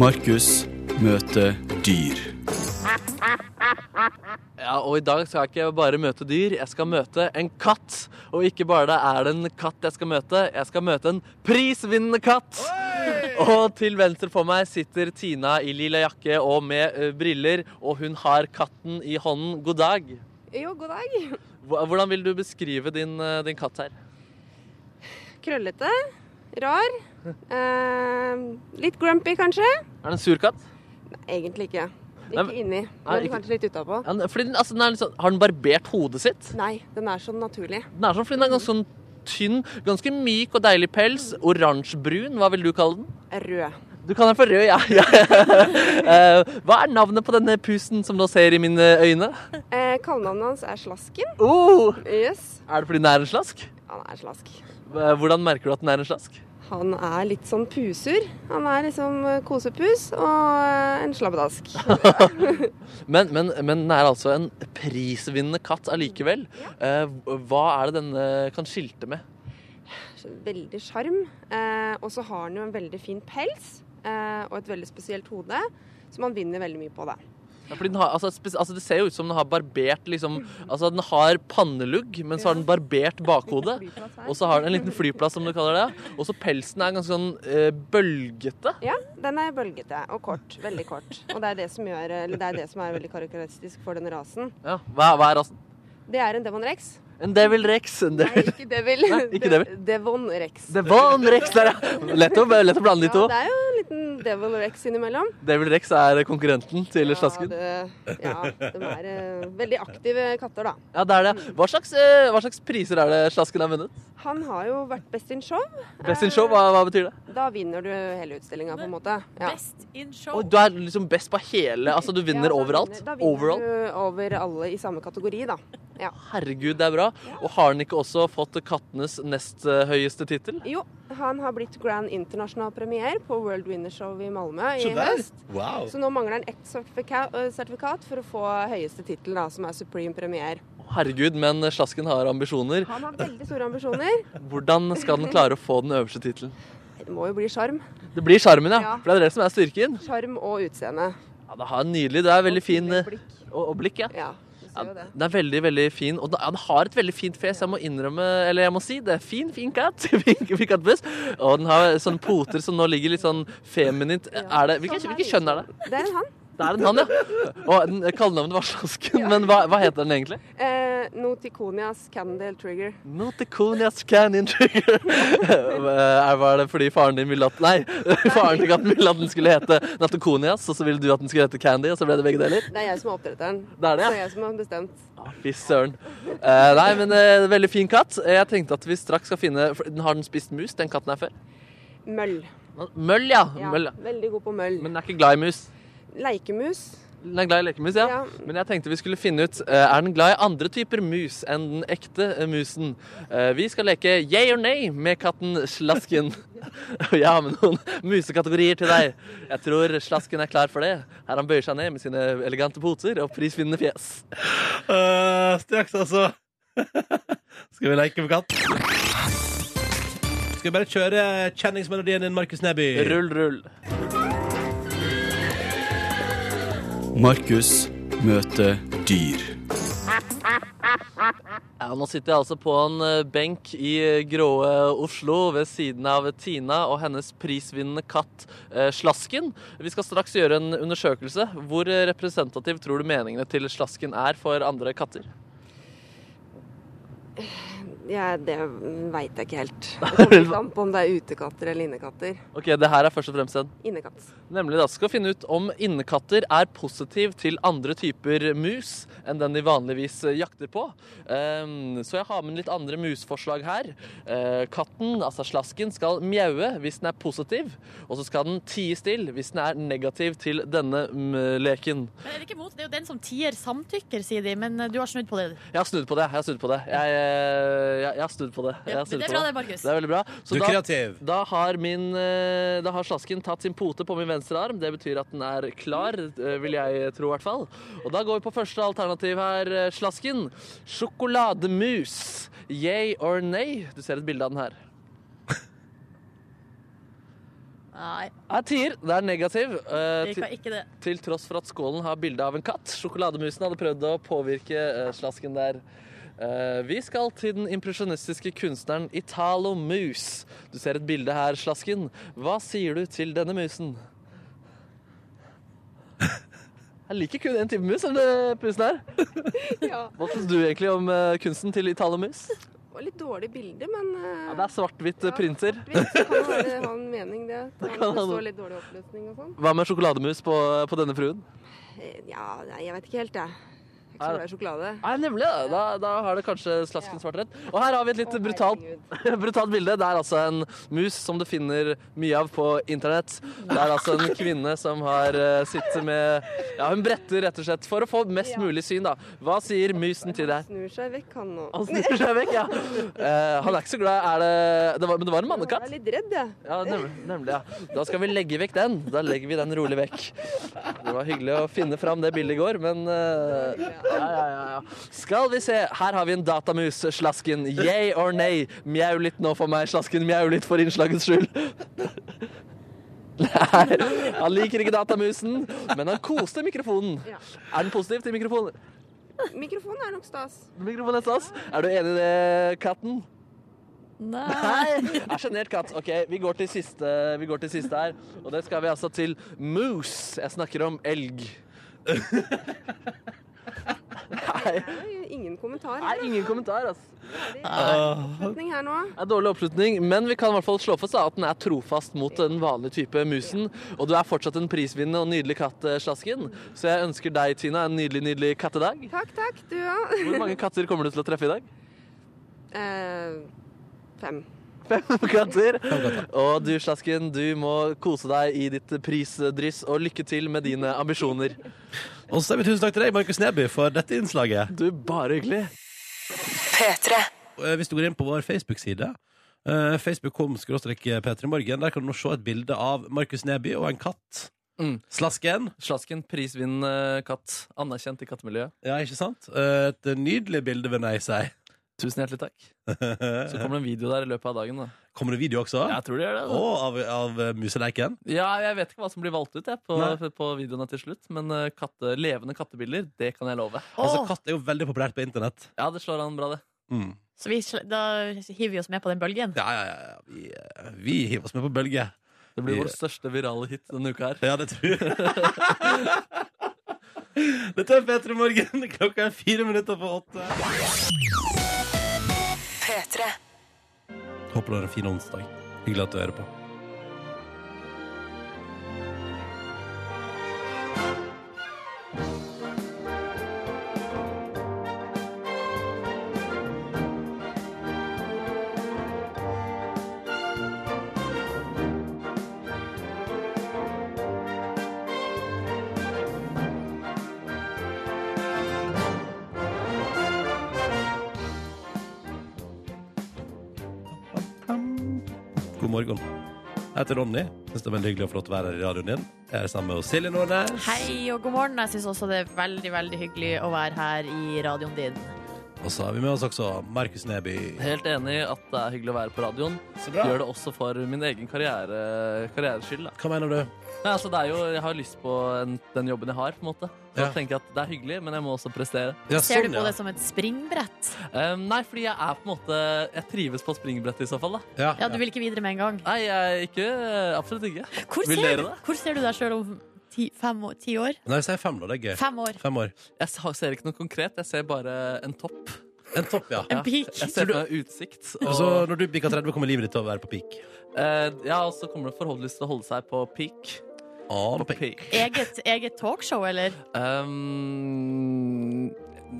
Markus møter dyr. Ja, og i dag skal jeg ikke bare møte dyr, jeg skal møte en katt. Og ikke bare er det en katt jeg skal møte, jeg skal møte en prisvinnende katt. Og til venstre for meg sitter Tina i lilla jakke og med eh, briller, og hun har katten i hånden. God dag. Jo, god dag. Hva- Hvordan vil du beskrive din, eh, din katt her? Krøllete. Rar. Eh, litt grumpy, kanskje. Er det en sur katt? Egentlig ikke. Nei, Ikke men- inni, Nei, men ikke- kanskje litt utapå. Ja, den- fordi den, altså, den er litt sånn- har den barbert hodet sitt? Nei, den er sånn naturlig. Den er sånn fordi den er ganske sånn tynn, ganske myk og deilig pels. Oransjebrun, hva vil du kalle den? Rød. Du kan den for rød, ja. ja. Eh, hva er navnet på denne pusen som du ser i mine øyne? Eh, Kallenavnet hans er Slasken. Oh, Yes, er det fordi den er en slask? han er slask. Eh, Hvordan merker du at den er en slask? Han er litt sånn pusur. Han er liksom eh, kosepus og eh, en slabbedask. Men, men, men den er altså en prisvinnende katt allikevel. Eh, hva er det denne kan skilte med? Veldig sjarm. Eh, og så har han jo en veldig fin pels eh, og et veldig spesielt hode, som han vinner veldig mye på, da. Ja, Fordi den har, altså, spes- altså, det ser jo ut som den har barbert liksom, altså, Den har pannelugg, men så har den barbert bakhodet. Og så har den en liten flyplass, som du kaller det. Og så pelsen er ganske sånn eh, bølgete. Ja, den er bølgete og kort. Veldig kort. Og det er det som, gjør, eller det er, det som er veldig karakteristisk for denne rasen. Ja, hva, hva er rasen? Det er en Devon rex. En devil rex. En devil ikke devil. Nei, ikke devil. De- Devon rex. Det var en Rex der, ja. Lett å, lett å blande de to. Ja, det er jo en liten devil rex innimellom. Devil Rex er konkurrenten til Slasken. Ja, det, ja, de er eh, veldig aktive katter, da. Ja, det er det. Hva slags, eh, hva slags priser er det Slasken har vunnet? Han har jo vært best in show. Best in show, hva, hva betyr det? Da vinner du hele utstillinga, på en måte. Ja. Best in show. Og du er liksom best på hele, altså du Ja, vinner da overalt. vinner- Da vinner Overall. du over alle i samme kategori, da. Ja. Herregud, det er bra. Og har den ikke også fått kattenes nest eh, høyeste tittel? Jo, han har blitt grand internasjonal premier på World Winner Show i Malmö i Så der. høst. Wow. Så nå mangler han ett sertifika- øh, sertifikat for å få høyeste tittel, da, som er supreme premier. Herregud, men Slasken har ambisjoner. Han har veldig store ambisjoner. Hvordan skal den klare å få den øverste tittelen? Det må jo bli sjarm. Det blir sjarmen, ja. Ja. For det er det som er styrken. Sjarm og utseende. Ja, det har en nydelig, det er veldig fin eh, Blikk. Og, og blikk, ja. Ja, du Ja, ser jo det. den er veldig, veldig fin, og den- ja, den har et veldig fint fjes. Jeg må innrømme, eller jeg må si, det er fin, fin katt. Fin, fin kattbuss. Og den har sånne poter som nå ligger litt sånn feminint. Er det, hvilket, hvilket kjønn er det? Det er en han. Det er en han, ja. Og den- kallenavnet var Slasken, men hva, hva heter den egentlig? Eh, Noticonias Candle Trigger. Noticonias Canyon Trigger. Eh, Var det fordi faren din ville at Nei, faren til katten ville at den skulle hete Natokonias, og så ville du at den skulle hete Candy, og så ble det begge deler? Det er jeg som er oppdretteren. Det er det, ja. Så jeg som har bestemt. Ah, Fy søren. Eh, nei, men eh, veldig fin katt. Eh, Jeg tenkte at vi straks skal finne for den Har den spist mus, den katten her før? Møll. Møll, ja. Ja, Møll, ja. Veldig god på møll. Men den er ikke glad i mus. Leikemus. Den er glad i lekemus, ja. Ja. Men jeg tenkte vi skulle finne ut eh, Er den glad i andre typer mus enn den ekte eh, musen. Eh, Vi skal leke yay or nay med katten Slasken. Og jeg har med noen musekategorier til deg. Jeg tror Slasken er klar for det. Her han bøyer seg ned med sine elegante poter og prisvinnende fjes. Eh, straks, altså. Skal vi leke med katt? Skal vi bare kjøre kjenningsmelodien din, Markus Neby? Rull, rull. Markus møter dyr. Ja, nå sitter jeg altså på en eh, benk i eh, gråe Oslo ved siden av Tina og hennes prisvinnende katt eh, Slasken. Vi skal straks gjøre en undersøkelse. Hvor eh, representativ tror du meningene til Slasken er for andre katter? Ja, det veit jeg ikke helt. Det kommer litt an på om det er utekatter eller innekatter. Ok, Det her er først og fremst en Innekatt. Nemlig da skal vi finne ut om innekatter er positiv til andre typer mus enn den de vanligvis eh, jakter på. Ehm, så jeg har med litt andre musforslag her. Eh, katten, altså slasken, skal mjaue hvis den er positiv, og så skal den tie stille hvis den er negativ til denne mm, leken. Men er det, ikke mot? det er jo den som tier samtykker, sier de, men eh, du har snudd på det. Jeg har snudd på det. Jeg har snudd på det. Jeg, eh, jeg, jeg har snudd på det. Jeg Ja, har men snudd det er på det. bra det, Markus. Det er veldig bra. Så Du er da- kreativ. Da har, min, eh, da har slasken tatt sin pote på min venstre arm. Det betyr at den er klar, eh, vil jeg tro i hvert fall. Og da går vi på første alternativ her, eh, slasken. Sjokolademus. Yay or nay? Du ser et bilde av den her. Nei, Jeg tier. Det er negativ. eh, det til, kan ikke det. til tross for at skålen har bilde av en katt. Sjokolademusen hadde prøvd å påvirke eh, slasken der. Eh, vi skal til den impresjonistiske kunstneren Italo Mus. Du ser et bilde her, slasken. Hva sier du til denne musen? Jeg liker kun én type mus, er det det pusen her? Ja. Hva syns du egentlig om eh, kunsten til Italo Mus? Det var litt dårlig bilde, men eh, Ja, det er svart-hvitt eh, printer. vi kan jo være- ha en mening, det. Det kan ha står noe. litt dårlig oppløsning og sånn. Hva med sjokolademus på, på denne fruen? Eh, Ja, nei, jeg vet ikke helt, jeg. Jeg tror det er sjokolade. Nei, nemlig. Da, da, da har det kanskje slasken svart rett. Og her har vi et litt Å, brutalt herregud. Brutalt bilde. Det er altså en mus som du finner mye av på internett. Det er altså en kvinne som har eh, sittet med Ja, hun bretter rett og slett for å få mest mulig syn, da. Hva sier musen til deg? Snur seg vekk, han nå. Han snur seg vekk, ja. Eh, han er ikke så glad. Er det, det var, Men det var en Jeg mannekatt? er litt redd, jeg. Ja, nemlig, nemlig, ja. Da skal vi legge vekk den. Da legger vi den rolig vekk. Det var hyggelig å finne fram det bildet i går, men eh, ja, ja, ja, ja. Skal vi se. Her har vi en datamus, Slasken. Yay or nay? Mjau litt nå for meg, Slasken. Mjau litt for innslagets skyld. Nei, han liker ikke datamusen, men han koste mikrofonen. Ja. Er den positiv til mikrofonen? Mikrofonen er nok stas. Mikrofonen er stas. Er du enig i det, katten? Nei. Nei, jeg er sjenert katt. Ok, vi går, til siste, vi går til siste her. Og det skal vi altså til moose. Jeg snakker om elg. Nei, Det er jo ingen kommentar. nei her, da. ingen kommentar, altså. Oppslutning her nå. Det er dårlig oppslutning, men vi kan i hvert fall slå fast da, at den er trofast mot den vanlige type musen. Og du er fortsatt en prisvinnende og nydelig katt, eh, Slasken. Så jeg ønsker deg, Tina, en nydelig, nydelig kattedag. Takk, takk, du òg. Hvor mange katter kommer du til å treffe i dag? Eh, fem. Fem katter. Og du, Slasken, du må kose deg i ditt prisdryss, og lykke til med dine ambisjoner. Og så sier vi tusen takk til deg, Markus Neby, for dette innslaget. Du, bare hyggelig. P3. Eh, Hvis du går inn på vår Facebook-side eh, Facebook.com skråstrek P3morgen. Der kan du nå se et bilde av Markus Neby og en katt. Mm. Slasken. Slasken, prisvinnende katt. Anerkjent i kattemiljøet. Ja, ikke sant? Eh, Et nydelig bilde, vil jeg si. Tusen hjertelig takk. Så kommer det en video der i løpet av dagen. da. Kommer det video også? Jeg tror det gjør det. da. Og av, av eh, museleiken? Ja, jeg vet ikke hva som blir valgt ut jeg, på, Nei. på videoene til slutt, men eh, katte, levende kattebilder, det kan jeg love. Altså, katt er jo veldig populært på internett. Ja, det slår an bra, det. Mm. Så vi, sl- da hiver vi oss med på den bølgen. Ja, ja, ja, ja. Vi, eh, vi hiver oss med på bølge. Det blir Ja. vår største virale hit denne uka her. Ja, det tror jeg. Dette er P3 Morgen. Klokka er fire minutter på åtte. P3. Håper du har en fin onsdag. Hyggelig at du hører på. God morgen. Jeg heter Ronny. Syns det er veldig hyggelig å få lov til å være her i radioen din. Jeg er sammen med Silje Nordnes. Hei og god morgen. Jeg syns også det er veldig veldig hyggelig å være her i radioen din. Og så har vi med oss også Markus Neby. Helt enig i at det er hyggelig å være på radioen. Så bra. Gjør det også for min egen karriere, karrieres skyld. da. Hva mener du? Nei, altså, det er jo, jeg har lyst på en, den jobben jeg har, på en måte. Så Ja. tenker jeg at det er hyggelig, men jeg må også prestere. Ja, Ser du sånn, på ja. det som et springbrett? Um, nei, fordi jeg er på en måte Jeg trives på springbrettet i så fall, da. Ja, Ja, Du vil ikke videre med en gang? Nei, jeg er ikke Absolutt ikke. Hvor Vil ser, dere du- det? hvor ser du deg sjøl om ti, fem år, ti år? Nei, si fem, da. Det er gøy. Fem år. Fem år. Jeg sa- ser ikke noe konkret, jeg ser bare en topp. En topp, ja. En pik. Jeg ser for meg utsikt. Og, Så når du bikker 30, kommer livet ditt til å være på peak? eh, ja, og så kommer det forhåpentligvis til å holde seg på peak. On På peak. peak. Eget, eget talkshow, eller? Um,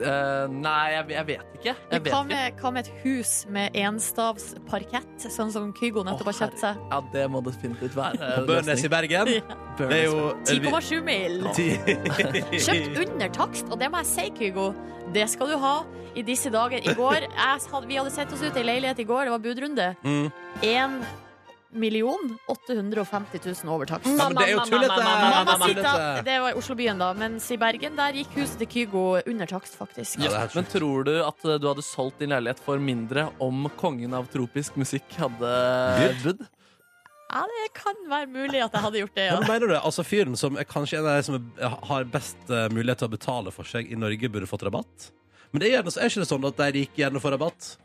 eh, nei, jeg, jeg vet ikke. Jeg vet Hva ikke. med, hva med et hus med enstavsparkett, sånn som Kygo nettopp Å, har kjøpt seg? Ja, det må det definitivt være. eh, På Børnes i Bergen. Det er jo 10,7 mil! Kjøpt Ti- under takst, og det må jeg si, Kygo. Det skal du ha i disse dager. I går, jeg, had- Vi hadde sett oss ut i leilighet i går, det var budrunde. Mm. 1 million 850 000 over takst. Ja, men det er jo tullete! Mamma Tullete. sitter, det var i Oslobyen, da, mens i Bergen der gikk huset til Kygo under takst, faktisk. Ja, det er helt Men tror du at eh, du hadde solgt din leilighet for mindre om kongen av tropisk musikk hadde budd? Ja, det kan være mulig at jeg hadde gjort det, ja. Men mener du det? Altså Fyren som er kanskje en av de som er, har best eh, mulighet til å betale for seg i Norge, burde fått rabatt? Men det er, gjerne, er ikke det sånn at de rike gjerne får rabatt?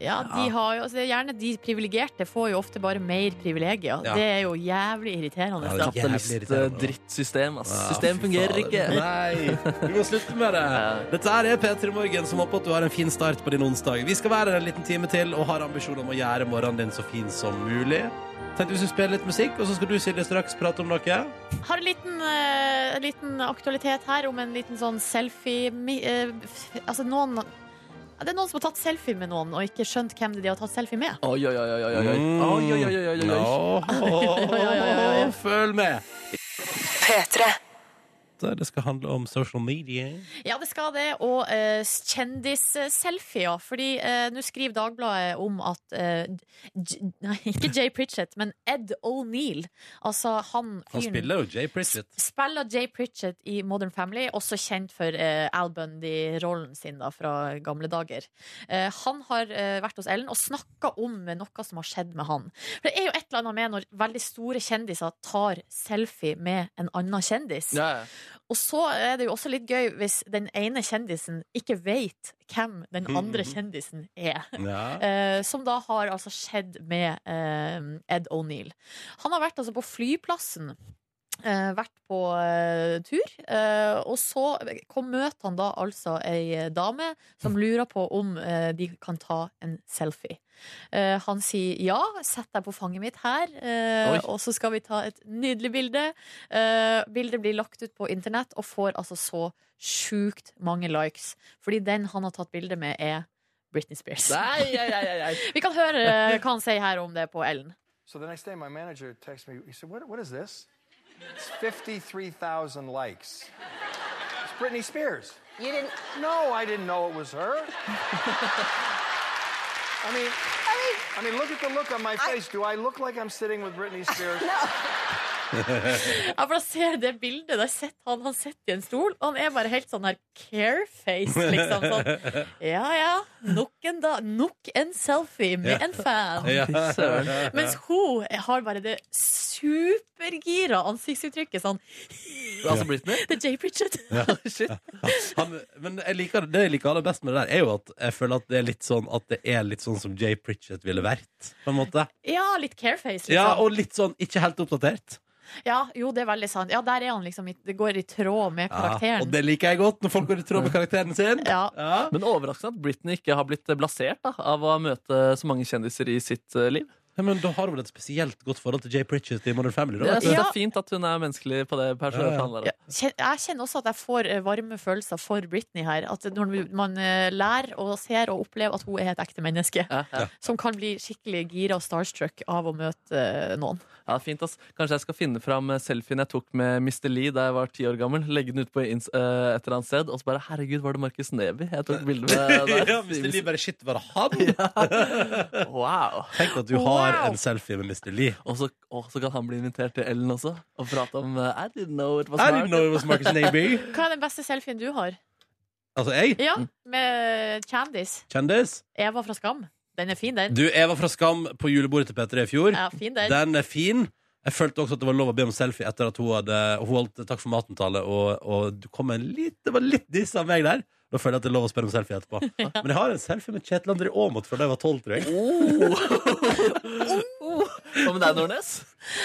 ja, de har jo, altså, det er gjerne de privilegerte får jo ofte bare mer privilegier. Ja. Det er jo jævlig irriterende. Ja, det er da. Kapitalist-drittsystem. ass. Ja, System fy fungerer faen. ikke. Nei, du må slutte med det. Dette her er P3 Morgen, som håper at du har en fin start på din onsdag. Vi skal være her en liten time til og har ambisjon om å gjøre morgenen din så fin som mulig. Tenkte vi skulle spille litt musikk, og så skal du Silje, straks prate om noe. Har en liten, eh, en liten aktualitet her om en liten sånn selfie mi- eh, f- Altså noen ja, Det er noen som har tatt selfie med noen og ikke skjønt hvem de har tatt selfie med. Oi, oi, oi, oi, oi, oi. Mm. Oi, oi, oi, oi, oi, oi. Åh, Følg med! P3. Der Det skal handle om social media. Ja, det skal det. Og eh, kjendisselfier. Fordi eh, nå skriver Dagbladet om at eh, J Nei, ikke Jay Pritchett, men Ed O'Neill. Altså han Han fyren- spiller jo Jay Pritchett. Spiller Jay Pritchett i Modern Family, også kjent for eh, Al Bundy-rollen sin da, fra gamle dager. Eh, han har eh, vært hos Ellen og snakka om eh, noe som har skjedd med han. For Det er jo et eller annet med når veldig store kjendiser tar selfie med en annen kjendis. Ja, ja. Og så er det jo også litt gøy hvis den ene kjendisen ikke veit hvem den andre kjendisen er. Ja. Eh, som da har altså skjedd med eh, Ed O'Neill. Han har vært altså på flyplassen. eh, vært på eh, tur. eh, og så kom, møter han da altså ei eh, dame som lurer på om eh, de kan ta en selfie. Eh, han sier ja, sett deg på fanget mitt her, eh, Oi. og så skal vi ta et nydelig bilde. Eh, bildet blir lagt ut på internett og får altså så sjukt mange likes. Fordi den han har tatt bilde med, er Britney Spears. Nei, ei, ei, ei, ei. Vi kan høre eh, hva han sier her om det på Ellen. So the next day, my manager texts me. He said, "What? What is this? It's fifty-three thousand likes. It's Britney Spears." You didn't? No, I didn't know it was her. I mean, I mean, look at the look on my face. Do I look like I'm sitting with Britney Spears? Ja, for da ser jeg det bildet. Der sitter han, han sitter i en stol, og han er bare helt sånn her careface, liksom. Sånn. Ja ja, nok en, da, nok en selfie med en fan. Ja. Fy Søren. Mens hun har bare det supergira ansiktsuttrykket sånn. Altså Britney? Det er Jay Pritchett. Shit. Han, men jeg liker, det jeg liker aller best med det der, er jo at jeg føler at det er litt sånn, at det er litt sånn som Jay Pritchett ville vært. På en måte. Ja, litt careface, liksom. Ja, og litt sånn ikke helt oppdatert. Ja, jo, det er veldig sant. Ja, der er han liksom i, Det går i tråd med Ja, karakteren. og det liker jeg godt, når folk går i tråd med karakteren sin. Ja. Men overraskende at Britney ikke har blitt blasert da, av å møte så mange kjendiser i sitt eh, liv. Ja, men da har du vel et spesielt godt forhold til Jay Pritchett i Modern Family? Da, Jeg vet synes du? det er fint at hun er menneskelig på det Ja, ja. personlige Ja, kjen- Jeg kjenner også at jeg får eh, varme følelser for Britney her. At når man eh, lærer og ser og opplever at hun er et ekte menneske, planet. Ja, ja. som kan bli skikkelig gira og starstruck av å møte eh, noen. Ja, det er fint, ass. Kanskje jeg skal finne fram eh, selfien jeg tok med Mr. Lee da jeg var ti år gammel. Legge den ut på ins- eh, et eller annet sted, og så bare Herregud, var det Markus Neby jeg tok bilde med der? ja, Mr. Lee bare shit, var det han? Wow. Tenk at du har Wow. en selfie med Mr. Lee. Og så, og så kan han bli invitert til Ellen også og prate om eh, I didn't know it was I didn't hard. know it was Marcus Neby. Hva er den beste selfien du har? Altså, jeg, Ja, med Candice. kjendis. Eva fra Skam. Den er fin, den. Du, Eva fra Skam på julebordet til P3 i fjor. Ja, fin den. Den er fin. Jeg følte også at det var lov å be om selfie etter at hun hadde og hun holdt Takk for maten-tale, og, og du kom med en litt, det var litt diss av meg der. Da føler jeg at det er lov å spørre om selfie etterpå. Men jeg har en selfie med Kjetil André Aamodt fra da jeg var tolv, tror jeg. Hva med deg, Nordnes?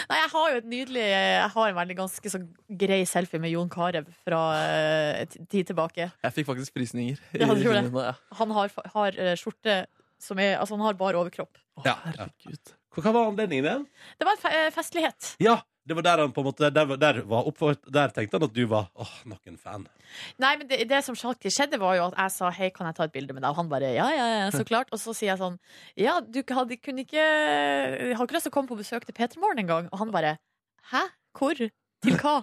Nei, jeg har jo et nydelig eh, Jeg har en veldig ganske så grei selfie med Jon Carew fra eh, t- tid tilbake. Jeg fikk faktisk frysninger. i Ja, du gjorde det. kinnene, ja. Han har, fa- har eh, skjorte som er Altså, han har bar overkropp. Ja. Herregud. Hva var anledningen igjen? Det var en fe eh, festlighet. Ja, det var der han på en måte Der, var- der, var oppvart, der tenkte han at du var Åh, nok en fan. Nei, men det, det som faktisk skjedde var jo at jeg sa Hei, kan jeg ta et bilde med deg? Og han bare ja, ja, ja, så klart Og så sier jeg sånn Ja, du hadde, kunne ikke jeg Har ikke lyst til å komme på besøk til Petermorgen en gang Og han bare Hæ? Hvor? Til hva?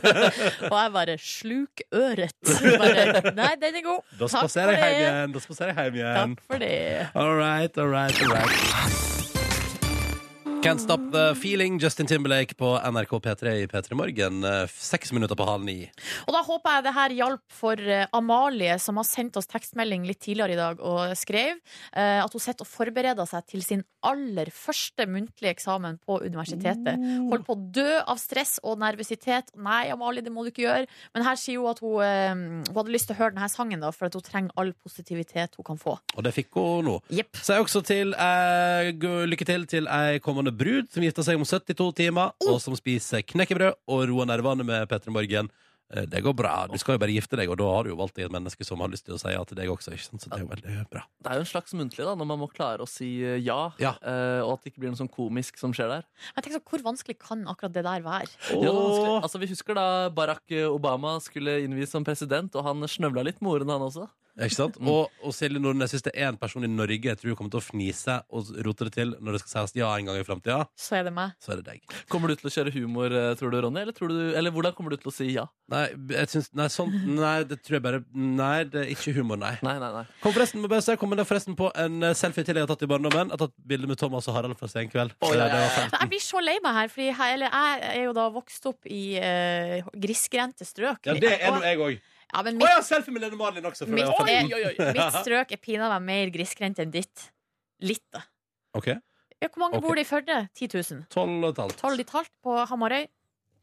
og jeg bare Sluk øret bare, Nei, den er god Da Takk spaserer jeg for hjem det. igjen. Da spaserer jeg hjem igjen. Takk for det All right, all right, all right. Can't Stop The Feeling, Justin Timberlake på NRK P3 i P3 Morgen. eh, Seks minutter på halv ni. Og da håper jeg det her hjalp for eh, Amalie, som har sendt oss tekstmelding litt tidligere i dag og skrev eh, at hun sitter og forbereder seg til sin aller første muntlige eksamen på universitetet. Holder på å dø av stress og nervøsitet. Nei, Amalie, det må du ikke gjøre. Men her sier hun at hun, eh, hun hadde lyst til å høre denne sangen, da, for at hun trenger all positivitet hun kan få. Og det fikk hun nå. Jepp. Så jeg også til eh, gu- lykke til til ei kommende brud som gifter seg om 72 timer, og som spiser knekkebrød og roer nervene med P3 Morgen. Eh, Det går bra. Du skal jo bare gifte deg, og da har du jo valgt deg et menneske som har lyst til å si ja til deg også. Ikke sant? Så det er jo veldig bra. Det er jo en slags muntlig, da, når man må klare å si eh, ja, Ja. eh, og at det ikke blir noe sånn komisk som skjer der. Jeg tenker så, Hvor vanskelig kan akkurat det der være? Ja, det var vanskelig. Åh. altså, vi husker da Barack Obama skulle innvies som president, og han snøvla litt med ordene, han også. Ikke sant? Og, og Silje Nordnes syns det er en person i Norge jeg tror kommer til å fnise og rote det til når det skal sies ja en gang i framtida, Så er det meg. så er det deg. Kommer du til å kjøre humor, eh, tror du, Ronny? Eller, tror du, eller hvordan kommer du til å si ja? Nei, jeg syns, nei, sånn, nei, det tror jeg bare Nei, det er ikke humor, nei. Nei, nei, nei. Kom forresten, må bare si, jeg kom med det forresten på en eh, selfie til jeg har tatt i barndommen. Jeg har tatt bilde med Thomas og Harald fra Senkveld. Å, ja, ja, ja. Det var Nei, Jeg blir så lei meg her, for jeg, eller jeg er jo da vokst opp i eh, grisgrendte strøk. Ja, det er nå jeg òg. Ja, men Å mitt, ja, selfie med Lene Marlin også. Fra da jeg mitt, var er, 15. mitt strøk er pinadø meg mer grisgrendt enn ditt. Litt, da. Ok, Ja, hvor mange Ok. bor det i Førde? 10 000. 12 og et halvt. 12 i talt på Hamarøy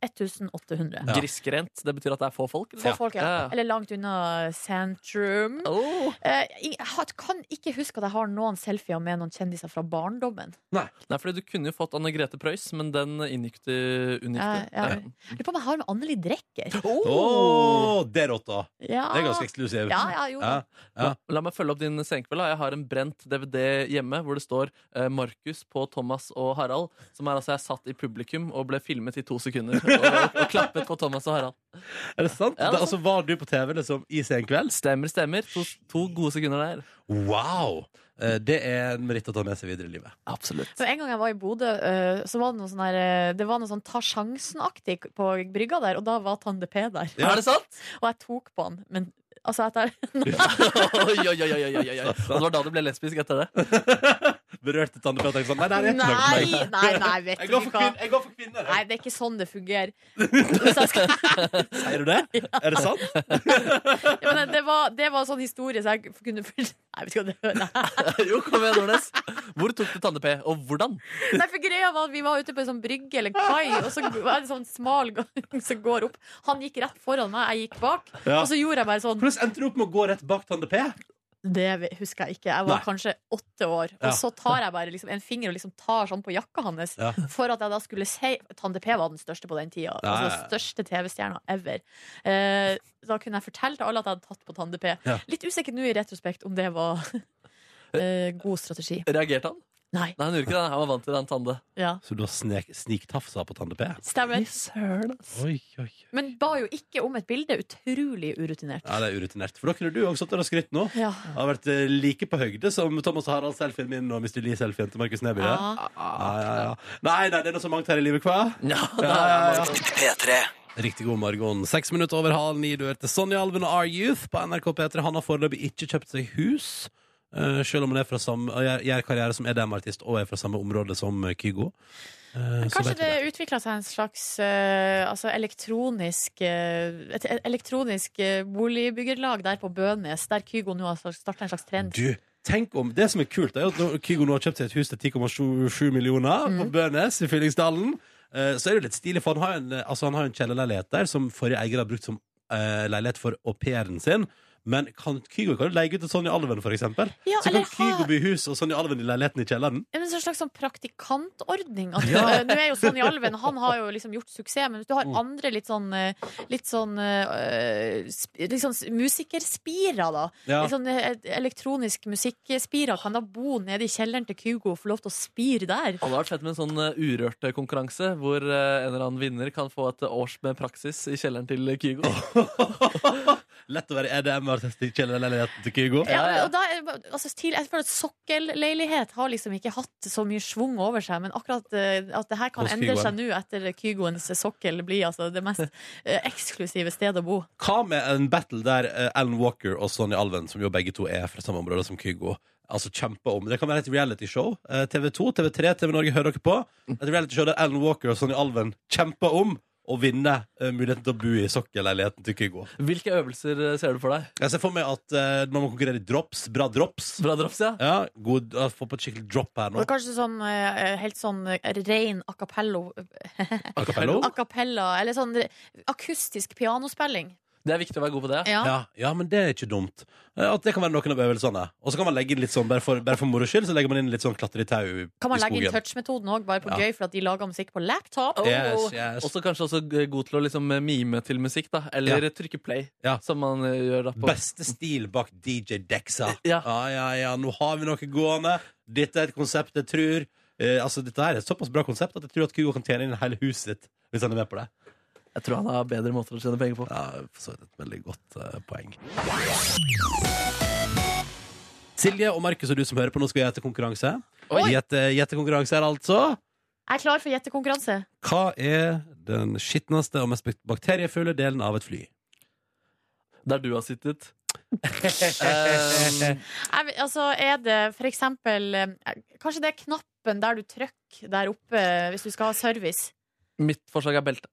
1800. Ja. Grisgrent. Det betyr at det er få folk? Få folk, ja. Ja, ja. Eller langt unna sentrum. Oh. Eh, jeg har- kan ikke huske at jeg har noen selfier med noen kjendiser fra barndommen. Nei, fordi Du kunne jo fått Anne Grete Preus, men den inngikk du unngikk Ja, du. ja. Lurer på om jeg har med Anneli Drecker. Å, det er rått, da. Ja. Oh! Det er ganske eksklusivt. ja, ja, jo. Ja. La, la meg følge opp din senkveld. da. Jeg har en brent DVD hjemme hvor det står eh, Markus på Thomas og Harald. Som er altså jeg satt i publikum og ble filmet i to sekunder. Og, og klappet på Thomas og Harald. Er det sant? Ja, det er Da, altså, var du på TV liksom, i Senkveld? Stemmer, stemmer. To, to gode sekunder der. Wow! Eh, Det er en meritt å ta med seg videre i livet. Absolutt. Så en gang jeg var i Bodø, eh, så var det noe sånn her eh, Det var noe sånn ta sjansen-aktig på brygga der, og da var Tande P der. Ja. Er det sant? Og jeg tok på han, men altså etter oi, oi, oi, oi, oi, oi. Og det var da du ble lesbisk etter det? Berørte tannepøy og tenkte sånn Nei, det er Nei, ikke noe for meg. nei, nei, vet Jeg du går for, hva. kvin jeg går for kvinner. Nei, det er ikke sånn det fungerer. Hvis jeg skal, Sier du det? Er det sant? ja, men det, var, det var en sånn historie så jeg kunne for- Nei, vet du hva det nei. jo, kom igjen, Nordnes. Hvor tok du Tande P, og hvordan? nei, for greia var at vi var ute på en sånn brygge eller kai, og så var det en sånn smal gang som går opp. Han gikk rett foran meg, jeg gikk bak, Ja. og så gjorde jeg bare sånn Pluss endte du opp med å gå rett bak Tande P. Det husker jeg ikke. Jeg var Nei. kanskje åtte år. Og Ja. så tar jeg bare liksom en finger og liksom tar sånn på jakka hans. Ja. For at jeg da skulle si Tande P var den største på den tida. Ja, ja, ja. Altså største TV-stjerna ever. Eh, da kunne jeg fortelle til alle at jeg hadde tatt på Tande P. Ja. Litt usikker nå i retrospekt om det var eh, god strategi. Reagerte han? Nei. Nei, han gjorde ikke det. Han var vant til den Tande. Ja. Så du har snek- sniktafsa på Tande P? Stemmer. Oi, oi. Men ba jo ikke om et bilde. Utrolig urutinert. Ja, det er urutinert. For da kunne du også stått der og skrytt nå. Ja. Jeg har vært eh, like på høyde som Thomas og Harald selfien min og Mr. Lee-selfien til Markus Neby. det. Ja. Ja, ja, ja. Nei, nei, det er noe så mangt her i livet, hva? Ja, Ja, ja, ja. P3. Riktig god morgen. Seks minutter over halv ni. Du hørte Sonja Alven og Our Youth på NRK P3. Han har foreløpig ikke kjøpt seg hus. eh, selv om han er fra samme, og gjør, gjør karriere som EDM-artist og er fra samme område som eh, Kygo. Eh, så Kanskje vet vi det utvikla seg en slags eh, altså elektronisk eh, Et elektronisk eh, boligbyggerlag der på Bønes, der Kygo nå har starta en slags trend. Du, tenk om Det som er kult, er jo at nå- Kygo nå har kjøpt seg et hus til 10,7 millioner Mm. på Bønes i Fyllingsdalen. Eh, Så er det jo litt stilig, for han eh, har jo en, altså han har jo en kjellerleilighet der som forrige eier har brukt som eh, leilighet for au pairen sin. Men kan Kygo kan du leie ut til Sonja Alven, for eksempel? Ja, Så eller kan Kygo bli i huset og Sonja Alven i leiligheten i kjelleren. Ja, men så en slags sånn praktikantordning. At, eh, Nå er jo Sonny Alven han har jo liksom gjort suksess, men hvis du Mm. har andre litt sånn, eh, litt sånn, eh, sp- litt sånn s- musikerspirer, da. Ja. Litt sånn eh, elektronisk musikkspirer kan da bo nede i kjelleren til Kygo og få lov til å spire der. Hadde vært fett med en sånn eh, Urørt-konkurranse, hvor eh, en eller annen vinner kan få et års med praksis i kjelleren til Kygo. Lett å være EDM-artist i kjellerleiligheten til Kygo. Ja, og da, er- altså, til, jeg føler at Sokkelleilighet har liksom ikke hatt så mye schwung over seg, men akkurat eh, at det her kan Hos endre Kygoen. seg nå etter Kygoens sokkel blir altså det mest eh, eksklusive stedet å bo. Hva med en battle der eh, Alan Walker og Sonja Alven, som jo begge to er fra samme område som Kygo, altså kjemper om? Det kan være et realityshow. Eh, TV2, TV3, TV Norge, hører dere på? Et realityshow der Alan Walker og Sonja Alven kjemper om å vinne eh, muligheten til å bo i sokkelleiligheten til Kygo. Hvilke øvelser eh, ser du for deg? Jeg ser for meg at eh, man må konkurrere i drops. Bra drops. Bra drops, ja? Ja, god, jeg får på et skikkelig drop her Og nå. det er kanskje sånn eh, helt sånn eh, ren a cappello A cappello? A cappella, eller sånn re- akustisk pianospilling. Det er viktig å være god på det. Ja. Ja, ja, men det er ikke dumt. Eh, At det kan være noen av øvelsene. Og så kan man legge inn litt sånn, bare for, bare for moro skyld, så legger man inn litt sånn klatre i tau i skogen. Kan man legge inn touch-metoden òg, bare på Ja. gøy, for at de lager musikk på laptop? Yes, yes. Og så kanskje også g- god til å liksom eh, mime til musikk, da. Eller trykke play, Ja. som man eh, gjør da på Beste stil bak DJ Dexa. Ja. ja, ja, ja, nå har vi noe gående. Dette er et konsept jeg tror eh, Altså, dette her er et såpass bra konsept at jeg tror at Kygo kan tjene inn hele huset sitt hvis han er med på det. Jeg tror han har bedre måter å tjene penger på. Ja, for så vidt et veldig godt eh, poeng. Silje og Markus og du som hører på, nå skal vi gjette konkurranse. Oi. Gjette- Gjettekonkurranse her, altså. Jeg er klar for gjettekonkurranse. Hva er den skitneste og mest bakteriefulle delen av et fly? Der du har sittet. Ehm, Jeg vet- Altså, er det for eksempel eh, Kanskje det er knappen der du trykker der oppe hvis du skal ha service? mitt forslag er belte.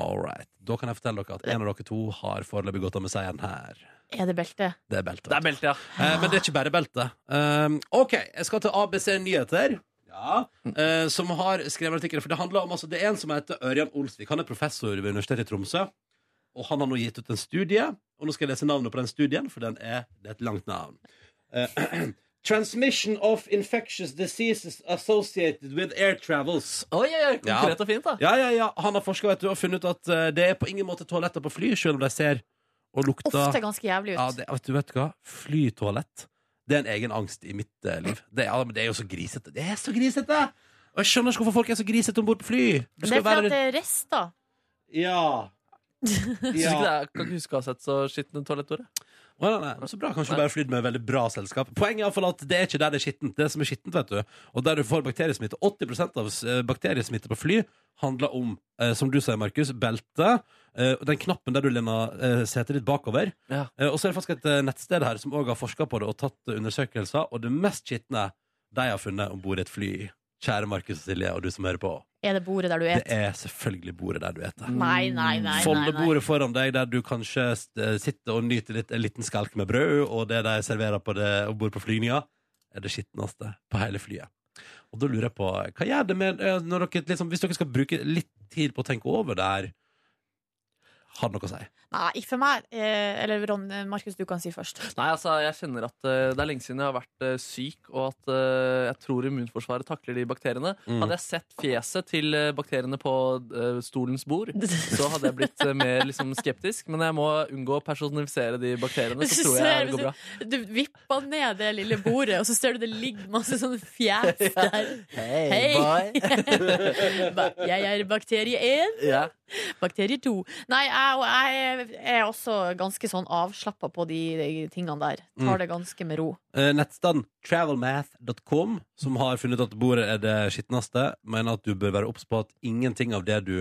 All right. Da kan jeg fortelle dere at en av dere to har foreløpig gått av med seieren her. Er det belte? Det er beltet. Det er belte, ja. Eh, men det er ikke bare beltet. Um, OK, jeg skal til ABC Nyheter. Ja. eh, som har skrevet artikler. For det handler om altså, Det er en som heter Ørjan Olsvik. Han er professor ved Universitetet i Tromsø. Og han har nå gitt ut en studie. Og nå skal jeg lese navnet på den studien, for den er, det er et langt navn. Eh, Transmission of infectious diseases associated with air travels. Oi, oi, oi, Ja. Konkret og fint, da. Ja, ja, ja. Han har forska og funnet ut at eh, det er på ingen måte toaletter på fly, selv om de ser og lukter Ofte ganske jævlig ut. ja, det, vet du vet du hva? Flytoalett Det er en egen angst i mitt eh, liv det, er- ja, men det er jo så grisete Det er så grisete Og jeg skjønner ikke hvorfor folk er så grisete ombord på fly Du det skal er fordi være at det er rester. Ja Syns ikke det Ja er, kan ikke huske å ha sett så skitne toalettordet. Å, nei, nei. Så bra, kanskje du bare flydde med veldig bra selskap Poenget er i hvert fall at det er ikke der det er skittent Det som er skittent, vet du Og der du får bakteriesmitte 80% av eh, bakteriesmitte på fly Handler om, eh, som du sier, Markus Belte eh, og Den knappen der du lener eh, setet ditt bakover Ja. Eh, Og så er det faktisk et eh, nettsted her som også har forska på det og tatt eh, undersøkelser, og det mest skitne de har funnet om bord i et fly. Kjære Markus og Silje og du som hører på. Er det bordet der du Det et? er selvfølgelig bordet der du spiser. Nei, nei, nei. nei, Folde nei. bordet foran deg, der du kanskje eh, sitter og nyter litt, en liten skalk med brød, og det de serverer på det om bord på flygninga, er det skitneste på hele flyet. Og da lurer jeg på, hva gjør det med eh, når dere, liksom, Hvis dere skal bruke litt tid på å tenke over det her, har det noe å si? Nei, ikke for meg. Eh, eller Ron, eh, Markus, du kan si først. Nei, altså, jeg kjenner at eh, Det er lenge siden jeg har vært eh, syk, og at eh, jeg tror immunforsvaret takler de bakteriene. Mm. Hadde jeg sett fjeset til eh, bakteriene på eh, stolens bord, så hadde jeg blitt eh, mer liksom, skeptisk. Men jeg må unngå å personifisere de bakteriene, Hvis du så tror jeg ser- det går bra. Du vipper ned det lille bordet, og så ser du det ligger masse sånne fjes der. Hei! Ba- jeg er bakterie E. 1, Ja. bakterie 2. Nei, jeg, og jeg er også ganske sånn avslappa på de, de tingene der. Mm. Tar det ganske med ro. Eh, Nettstedet travelmath.com, som har funnet at bordet er det skitneste, mener at du bør være obs på at ingenting av det du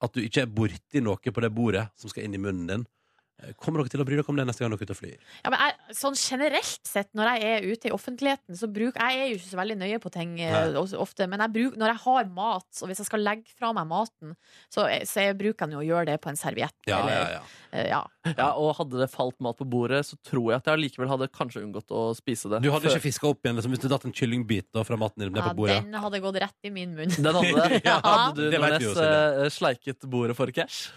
At du ikke er borti noe på det bordet som skal inn i munnen din. Eh, Kommer dere til å bry dere om det neste gang dere er ute og flyr? Ja, men jeg, sånn generelt sett, når jeg er ute i offentligheten, så bruk Jeg er jo ikke så veldig nøye på ting eh, Nei. også- ofte, men jeg bruk, når jeg har mat, og hvis jeg skal legge fra meg maten, så, eh, så jeg bruker jeg jo å gjøre det på en serviett. eller, ja. eh, ja. ja, Og hadde det falt mat på bordet, så tror jeg at jeg allikevel hadde kanskje unngått å spise det. Du hadde Før- ikke fiska opp igjen liksom, hvis du datt en kyllingbit da, fra maten din ned ja, på bordet? den hadde gått rett i min munn. Den hadde det. Ja, Hadde du det vet vi Nordnes jo, Silje. eh, sleiket bordet for cash?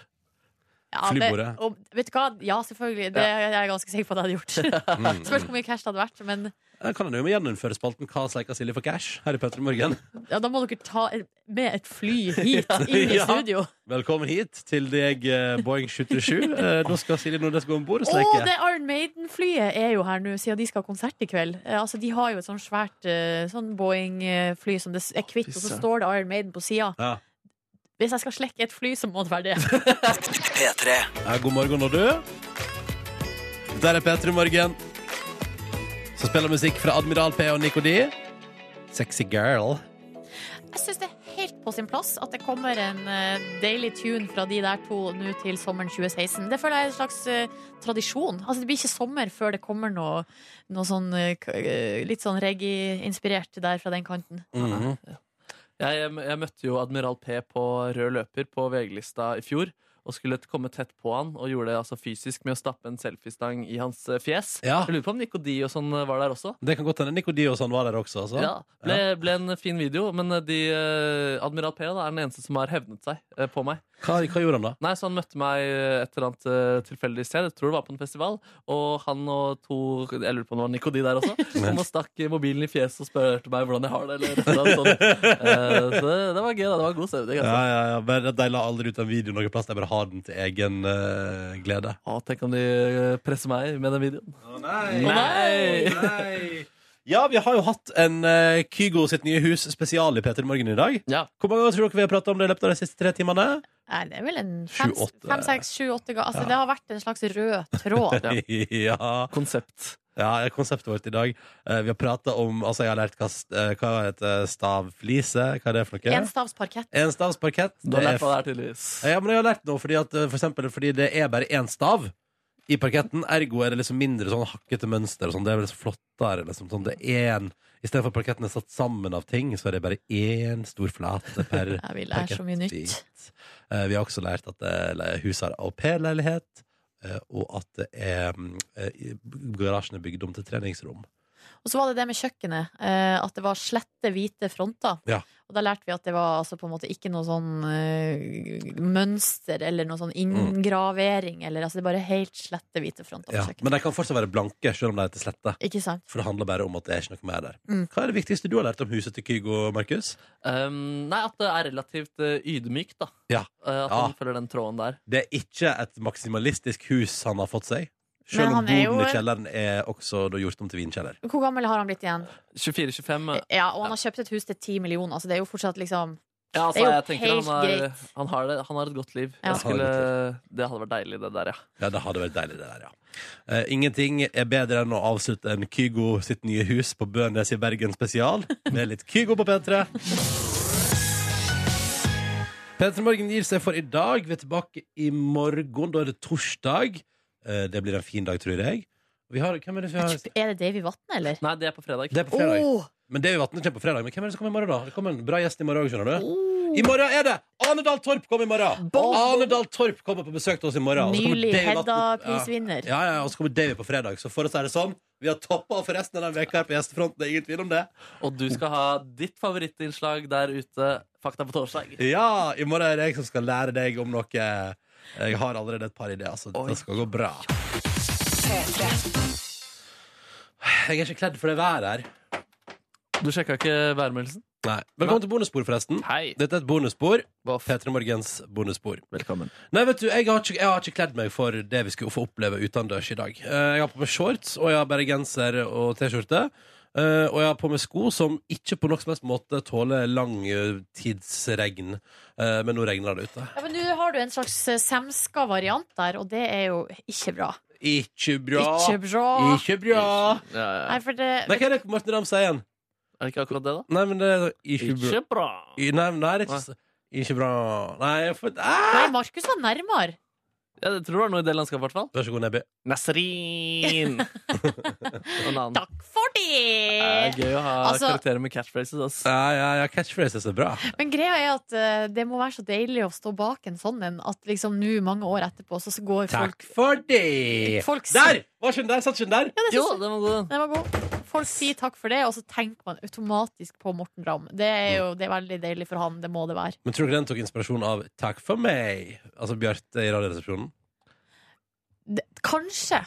Ja, det- Flybordet. og vet du hva? Ja, selvfølgelig. Det er jeg ganske sikker på at jeg hadde gjort. Spørs hvor mye cash det hadde vært. Men Da kan en jo gjeninnføre spalten Hva sleika Silje for cash? her i Petter Morgen. ja, da må dere ta et- med et fly hit inn i Ja. studio. Velkommen hit til deg, eh, Boeing 77. Eh, Da skal Silje Nordnes gå om bord og Å, sleike. det Iron Maiden-flyet er jo her nå, siden de skal ha konsert i kveld. Eh, altså, De har jo et sånn svært eh, sånn Boeing-fly som det s- er kvitt, og så står det Iron Maiden på sida. Ja. Hvis jeg skal slekke et fly, så må det være det. P3. Ja, god morgen, og du? Der er Petter Morgen, som spiller musikk fra Admiral P og Nico D. Sexy girl. Jeg syns det er helt på sin plass at det kommer en eh, deilig tune fra de der to nå til sommeren 2016. Det føler jeg er en slags eh, tradisjon. Altså Det blir ikke sommer før det kommer noe, noe sånn eh, k- eh, litt sånn reggae-inspirert der fra den kanten. Mhm. Jeg, jeg, jeg møtte jo Admiral P på rød løper på VG-lista i fjor. Og skulle komme tett på han og gjorde det altså fysisk med å stappe en selfiestang i hans eh, fjes. Ja. Jeg lurer på om Nico D og sånn eh, var der også. Det kan godt hende Nico D og sånn var der også. Altså. Ja, ble, ble en fin video, men eh, de, eh, Admiral P da, er den eneste som har hevnet seg eh, på meg. Hva, hva gjorde han da? Nei, så Han møtte meg et eller annet eh, tilfeldig sted, jeg tror det var på en festival. Og han og to Jeg lurer på om det var Nico D der også. Kom og stakk mobilen i fjeset og spurte meg hvordan jeg har det. Eller et eller annet sånt. Eh, så det, det var gøy. da, Det var god stemning. Altså. Ja, ja, ja. Men De la aldri ut en video noe plass. De bare har den til egen eh, glede. Å, Ah, tenk om de eh, presser meg med den videoen. nei. Nei! Ja, vi har jo hatt en eh, Kygo sitt nye hus spesial i Peter Morgen i dag. Ja. Hvor mange ganger tror dere vi har pratet om det i løpet av de siste tre timene? Nei, det er vel en Sju, åtte. fem, seks, sju, åtte ganger. Altså, Det har vært en slags rød tråd. Ja. ja. Konsept. Ja, konseptet vårt i dag. Eh, vi har prata om Altså, jeg har lært hva, st- eh, hva heter stavflise Hva er det for noe? Enstavsparkett. Enstavsparkett. Du har Det er lært hva det er, tydeligvis. Ja, men jeg har lært noe fordi, at, eh, for eksempel, fordi det er bare én stav i parketten. Ergo er det liksom mindre sånn hakkete mønster. Og sånn. det er vel så flottere. Liksom, sånn. det er en, I stedet for at parketten er satt sammen av ting, så er det bare én stor flate per Jeg vil lære så mye nytt. parkettbit. Eh, vi har også lært at uh, huset har au-pair-leilighet, eh, og at det er, mm, eh, i- garasjen er bygd om til treningsrom. Og så var det det med kjøkkenet. eh, At det var slette, hvite fronter. Ja. Og da lærte vi at det var altså på en måte ikke noe sånn eh, mønster eller noe sånn inngravering. Eller, altså det er bare helt slette, hvite fronter Mm. Ja. på kjøkkenet. Men de kan fortsatt være blanke, selv om de heter slette. Ikke sant? For det handler bare om at det er ikke noe mer der. Mm. Hva er det viktigste du har lært om huset til Kygo, Markus? Um, nei, at det er relativt eh, ydmykt, da. Ja. Eh, at Ja. han følger den tråden der. Det er ikke et maksimalistisk hus han har fått seg. Men Selv om han er jo- boden i kjelleren er også da gjort om til vinkjeller. Hvor gammel har han blitt igjen? 24-25. eh, Ja, Og han har kjøpt et hus til ti millioner. Altså det er jo fortsatt liksom Ja, altså, Det er jo jeg tenker han, helt er, greit. han, har det, han har et godt liv. Ja. Jeg Skulle, det hadde vært deilig, det der, ja. Ja, det hadde vært deilig, det der, ja. Eh, ingenting er bedre enn å avslutte en Kygo sitt nye hus på Bønes i Bergen spesial med litt Kygo på P3. P3 Morgen gir seg for i dag. Vi er tilbake i morgen. Da er det torsdag. Eh, det blir en fin dag, tror jeg. Vi har, hvem er det vi har? Er det Davy Vatne, eller? Nei, det er på fredag. Det er på fredag. Men det er jo at den kommer på fredag. Men hvem er det som kommer i morgen, da? Det kommer en bra gjest i morgen òg, skjønner du. I morgen er det! Ane Dahl Torp kommer i morgen! Ane Dahl Torp kommer på besøk til oss i morgen. og så kommer Nylig Davy Vatne- Hedda-prisvinner. Ja, ja, ja, og så kommer Davy på fredag. Så for å si det sånn, vi har toppa for resten av den veka her på gjestefronten. Det er ingen tvil om det. Og du skal ha ditt favorittinnslag der ute. Fakta på torsdag. Ja, i morgen er det jeg som skal lære deg om noe. Jeg har allerede et par ideer, så det skal gå bra. Jeg er ikke kledd for det været her. Du sjekka ikke værmeldelsen? Nei. Velkommen til bonusspor, forresten. Hei. Dette er et bonusspor. Voff. P3 Morgens bonusspor. Velkommen. Nei, vet du, jeg har, ikke, jeg har ikke kledd meg for det vi skulle få oppleve utendørs i dag. Eh, Jeg har på meg shorts, og jeg har bare genser og T-skjorte. Eh, og jeg har på meg sko som ikke på noen som helst måte tåler lang eh, tidsregn. Eh, men nå regner det ute. Ja, men Nå har du en slags eh, semska variant der, og det er jo ikke bra. Ikke bra! Ikke bra. Ikke bra. Ja, ja. Nei, for det, Nei, hva er det Morten Ramm sier igjen? Er det ikke akkurat det, da? Nei, men det er ikke bra. Ikke bra. I- Nei, men det er ikke, s- ikke bra. Nei, jeg får ah! nei Markus var nærmere. Ja, jeg tror det var noe i det landskapet, i hvert fall. Vær så god, Nebby. Nasrin! en annen. Takk for det! Det er gøy å ha Altså- karakterer med catchphrases. Ass. Ja, ja, ja, catchphrases er bra. Men greia er at eh, det må være så deilig å stå bak en sånn en, at liksom nå, mange år etterpå, så så går folk Takk for det! Folk sier- Der! Var ikke den der? Satt ikke den der? Jo, den var god. Den var god. Folk sier takk for det, og så tenker man automatisk på Morten Ramm. Det er jo det er veldig deilig for han, det må det være. Men tror dere den tok inspirasjon av 'Takk for meg'? Altså Bjarte i Radioresepsjonen? d- Kanskje.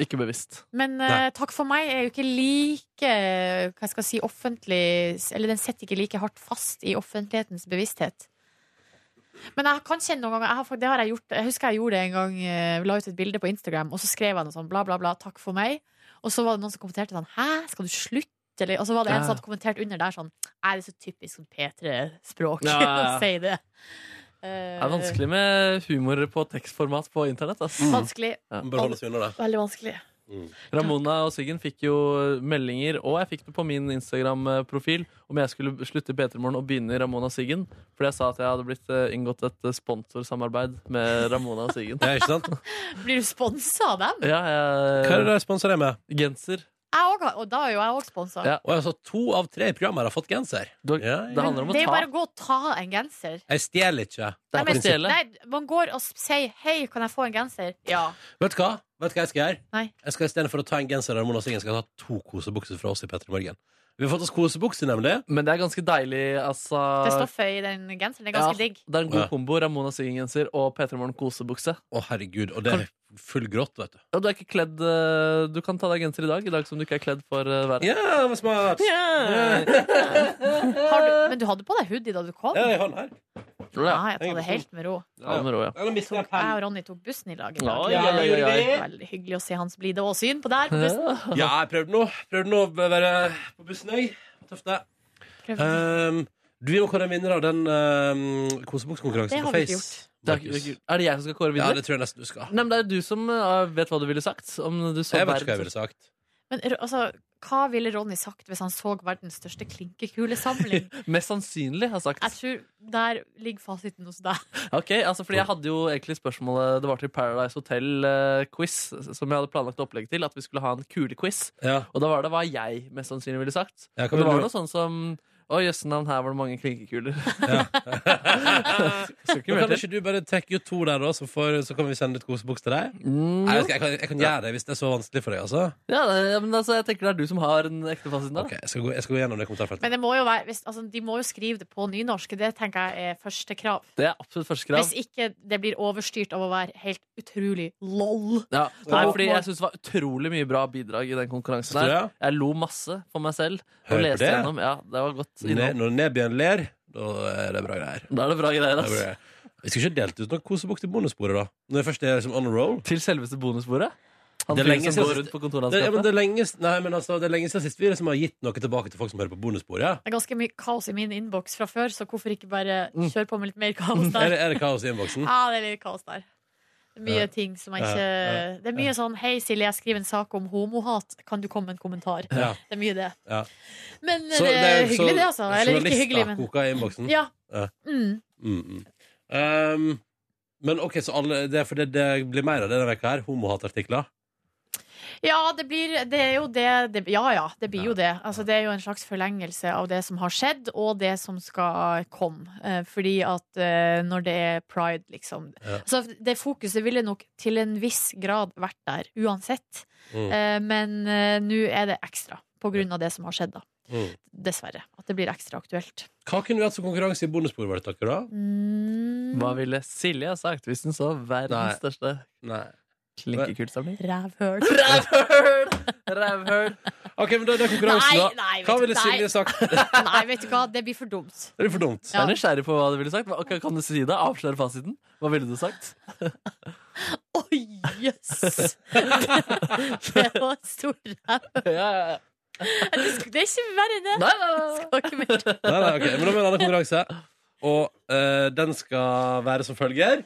Ikke bevisst. Men Nei. eh, Takk for meg er jo ikke like eh, Hva skal jeg si, offentlig Eller den setter ikke like hardt fast i offentlighetens bevissthet. Men jeg kan kjenne noen ganger jeg har, fakt- det har jeg, gjort, jeg husker jeg gjorde det en gang. eh, la ut et bilde på Instagram, og så skrev jeg noe sånn bla, bla, bla. Takk for meg. Og så var det noen som kommenterte sånn Hæ, skal du slutte? Eller, og så var det en Ja. som hadde kommentert under der sånn Nei, det er så typisk sånn P3-språk Ja, ja, ja. å si det. Eh, Det er vanskelig med humor på tekstformat på internett. Ass. Eh, Vanskelig. Man bør holde seg unna det. Veldig vanskelig. Ramona og Siggen fikk jo meldinger, og jeg fikk det på min Instagram-profil, om jeg skulle slutte i P3morgen og begynne i Ramona og Siggen. Fordi jeg sa at jeg hadde blitt eh, inngått et eh, sponsorsamarbeid med Ramona og Siggen. Ja, ikke sant? Blir du sponsa av dem? Ja, Hva er jeg, det de sponser deg med? genser. Jeg også, har- og da er jo jeg òg sponsa. Ja. Og altså, to av tre i programmet har fått genser. Du, Ja, ja. Det handler om å Det er jo ta. bare å gå og ta en genser. Jeg stjeler ikke. Det Nei, er ikke å men- stjele. Nei, man går og s- sier 'hei, kan jeg få en genser'? Ja. Vet du hva? Vet du hva jeg skal gjøre? Nei. Jeg skal Istedenfor å ta en genser av Mona Siggen, skal jeg ta to kosebukser fra oss i Petter Morgen. Vi har fått oss kosebukser, nemlig. Men det er ganske deilig, altså. Det stoffet i den genseren det er Ja, ganske digg. det er en Ja. god kombo. Ramona Siggen-genser og P3morgen kosebukse. Å, herregud. Og det er full grått, vet du. Ja, du er ikke kledd eh, Du kan ta deg genser i dag, i dag som du ikke er kledd for eh, været. Ja, det var smart! Har du, men du hadde på deg hoodie da du kom? Ja, jeg har den her. Tror du det? Nei, jeg tar det helt med ro. Ja, men rå, ja. Ja, nå mistet jeg Jeg pennen. og Ronny tok bussen i lag. i Ja, dag. ja, ja, ja, ja. Veldig hyggelig å se hans blide åsyn på der. På bussen. Ja, jeg prøvde nå. Prøvde nå å være på bussen, jeg. Tøft, det. Prøv. Um, du vi må kåre en vinner av den um, kosebokskonkurransen Det på har vi ikke Face. Det er, ikke- er det jeg som skal kåre Ja, vinner? det tror jeg nesten du skal. Nei, men Det er du som eh, vet hva du ville sagt. Om du så Jeg vet ikke verden hva jeg ville sagt. Men r- altså, hva ville Ronny sagt hvis han så verdens største klinkekulesamling? som- Mest sannsynlig har sagt. Jeg tror der ligger fasiten hos deg. Ok, altså fordi Jeg hadde jo egentlig spørsmålet Det var til Paradise Hotel-quiz, som jeg hadde planlagt opplegget til. At vi skulle ha en kulequiz. Ja. Og da var det hva jeg mest sannsynlig ville sagt. Ja, hva Og det ville var du- noe sånn som Å, jøsse navn, her var det mange klinkekuler. Skal ikke Men mer til. kan ikke du bare trekke ut to der, da, så, får, så kan vi sende ut koseboks til deg? Mm, Nei, jo. jeg, skal, jeg, kan, jeg kan gjøre det hvis det er så vanskelig for deg, altså. Ja, det- ja, men altså, jeg tenker det er du som har den ekte fasiten. da. Ok, jeg skal gå, jeg skal gå gjennom det kommentarfeltet. Men det må jo være, hvis, altså, de må jo skrive det på nynorsk. Det tenker jeg er første krav. Det er absolutt første krav. Hvis ikke det blir overstyrt av å være helt utrolig lol. Ja, nei, fordi jeg synes det var utrolig mye bra bidrag i den konkurransen. Tror du her det? Jeg lo masse for meg selv. Hør Og på leste det. gjennom. Ja, det var godt Ne, innhold. når Nebyen ler, da er det bra greier. Da er det bra greier. Da blir ass det- Vi skal ikke delt ut noen kosebok til bonusbordet, da. Når jeg først er liksom on a roll. Til selveste bonusbordet. Han Det er lenge fyren som siden- går rundt på kontoret hans. Det, ja, men kaffe. det, er lenge, s- nei, men altså, det er lenge siden sist vi liksom har gitt noe tilbake til folk som hører på bonusbordet. Det er ganske mye kaos i min innboks fra før, så hvorfor ikke bare kjøre på med litt mer kaos Mm. Er, der? det- er det kaos i innboksen? Ja, det er litt kaos der. Det er mye ting som jeg Ja, ikke Det er mye sånn 'Hei, Silje, jeg skriver en sak om homohat. Kan du komme med en kommentar?' Det Ja. er mye det. Ja. Men Så det er jo hyggelig, så- det, altså. Eller ikke journalister hyggelig, men koker i innboksen. Ja. Ja. Mm. Mm, mm. Um, men OK, så alle, det, er fordi det blir mer av det denne veka her. Homohatartikler. Ja, det blir Det er jo det, det Ja ja, det blir jo det. Altså, det er jo en slags forlengelse av det som har skjedd, og det som skal komme. Eh, fordi at eh, når det er pride, liksom Ja. Så det fokuset ville nok til en viss grad vært der uansett. Mm. Eh, men eh, nå er det ekstra på grunn av det som har skjedd, da. Mm. Dessverre. At det blir ekstra aktuelt. Hva kunne vi hatt som konkurranse i bonusbordet vårt, dere, da? Mm. Hva ville Silje ha sagt hvis hun så Nei. verdens største Nei. klinkekultsamling? Rævhøl. Rævhøl! Rævhøl. OK, men da er det konkurransen, Nei, da. nei, Hva vet ville du- Silje nei. sagt? Det Nei, vet du hva, det blir for dumt. er for dumt. Jeg er nysgjerrig på hva du ville sagt. Hva- ok, Kan du si det? Avsløre fasiten. Hva ville du sagt? Å, jøss! det var stor ræv. Ja, ja, ja. Det er ikke verre enn det. Nei, nei, nei. Skal ikke mer til. Nei, nei, ok, Men da må vi ha en annen konkurranse. Og eh, den skal være som følger.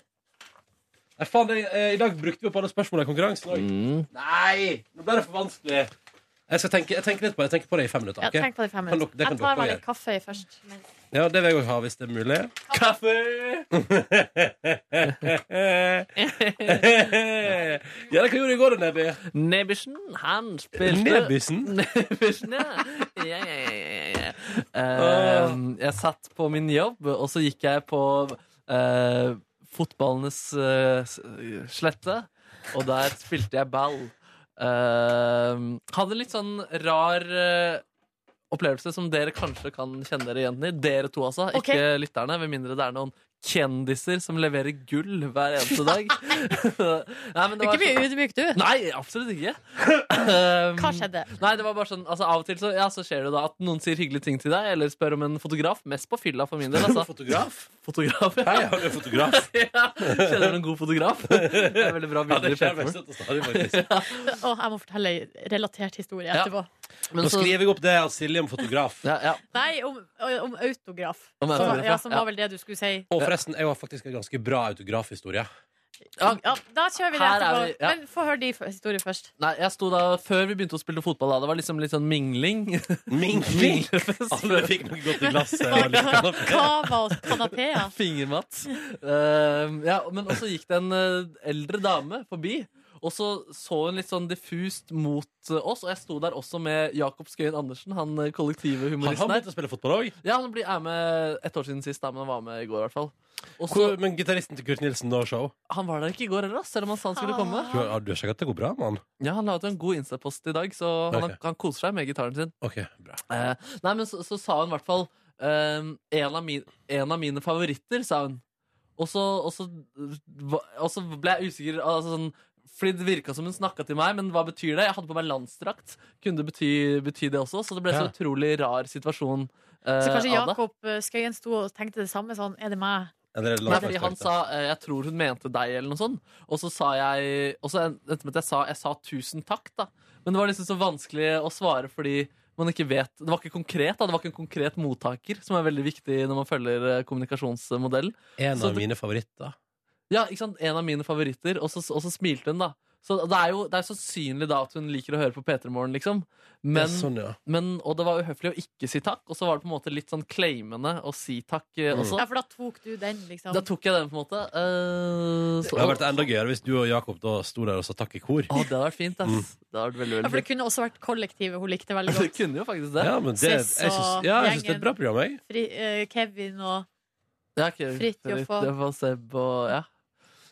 Nei, faen, det, eh, I dag brukte vi opp alle spørsmålene i konkurransen. også. Nei! Nå ble det for vanskelig. Jeg, skal tenke, jeg tenker litt på det Jeg tenker på det i fem minutter. Ja, ok? tenk på det i fem Kan dere- minutter. det kan Jeg tar dere meg gjøre. litt kaffe først. Ja, Det vil jeg òg ha, hvis det er mulig. ja, det hva gjorde du i går, da, Nebby? Nebischen, han spilte Nebisen? Nebischen, ja. Ja, ja, ja, ja, ja. Eh, jeg satt på min jobb, og så gikk jeg på eh, fotballenes eh, s- slette, og der Ehm, spilte jeg ball. Eh, hadde litt sånn rar eh, opplevelse som dere kanskje kan kjenne dere igjen i. Dere to, altså. Ok. Ikke lytterne, med mindre det er noen kjendiser som leverer gull hver eneste dag. Nei, men Du det er var ikke mye sånn- ydmyk, du. Nei, absolutt ikke. Um, Hva skjedde? Nei, det var bare sånn, altså Av og til så, ja, så skjer det da at noen sier hyggelige ting til deg, eller spør om en fotograf. Mest på fylla, for min del. Altså. Fotograf? Fotograf, ja. Hei, har du en fotograf? ja. Kjenner du en god fotograf? Det er veldig bra Ja, det bilder i skjer Petermorgen. mest etter stadig, faktisk. Å, jeg må fortelle en relatert historie Ja. etterpå. Men Nå så- skriver jeg opp det av Silje om fotograf. ja, ja. Nei, om, om autograf. Om som, autograf, var- ja. ja, som var vel det du skulle si. Og forresten, jeg har faktisk en ganske bra autografhistorie. Ja. Ja, da kjører vi det Her er etterpå. vi, ja. Men få høre de f- historie først. Nei, jeg sto da Før vi begynte å spille fotball, da, det var liksom litt sånn mingling. Mingling! Minglefest. Alle fikk noe godt i glasset. og litt kanapé. Kava og kanapeer. Fingermatt. Ehm, ja, men også gikk det en eh, eldre dame forbi, og så så hun litt sånn diffust mot eh, oss. Og jeg sto der også med Jakob Skøyen Andersen, han eh, kollektive Har han humoristen begynt her. å spille fotball òg? Ja, han blir, er med ett år siden sist, da, men han var med i går i hvert fall. Og så, Men gitaristen til Kurt Nilsen nå, show? han var der ikke i går heller, ass, selv om han sa han skulle komme. Du har sjekka at det går bra, mann? Ah. Ja, Han la ut en god Insta-post i dag, så han, Ok. han koser seg med gitaren sin. Ok, bra. Eh, nei, men så, så sa hun i hvert fall ehm, en, av min, en av mine favoritter, sa hun. Og så, og så, og så ble jeg usikker. Altså sånn, fordi det virka som hun snakka til meg, men hva betyr det? Jeg hadde på meg landsdrakt. Kunne det bety, bety det også? Så det ble Ja. så utrolig rar situasjon. eh, Så kanskje av det. Jakob eh, Skøyen sto og tenkte det samme sånn, er det meg? Eller er det Nei, fordi han landslagsdrakt, da? sa eh, 'jeg tror hun mente deg', eller noe sånt. Og så sa jeg Og så endte med at jeg sa, jeg sa 'tusen takk', da. Men det var liksom så vanskelig å svare fordi man ikke vet Det var ikke konkret, da. Det var ikke en konkret mottaker, som er veldig viktig når man følger eh, kommunikasjonsmodell. En Så av det- mine favoritter. Ja, ikke sant? En av mine favoritter. Og så, og så smilte hun, da. Så det er jo det er sannsynlig da at hun liker å høre på P3 Morgen, liksom. Men, Ja, sånn, ja. men, og det var uhøflig å ikke si takk. Og så var det på en måte litt sånn claimende å si takk eh, Mm. også. Ja, for da tok du den, liksom. Da tok jeg den, på en måte. Eh, så- Det hadde vært enda gøyere hvis du og Jakob da sto der og sa takk i kor. Å, det hadde vært fint, ass. Det hadde vært veldig, ja, veldig for det fint. kunne også vært kollektivet hun likte veldig Det godt. kunne jo faktisk det. Ja, men det, jeg Sess og syns, ja, jeg syns det er gjengen. et bra program, jeg. Fri, eh, Kevin og Ja, ok. Fridtjof og- Fridtjof og Seb og ja.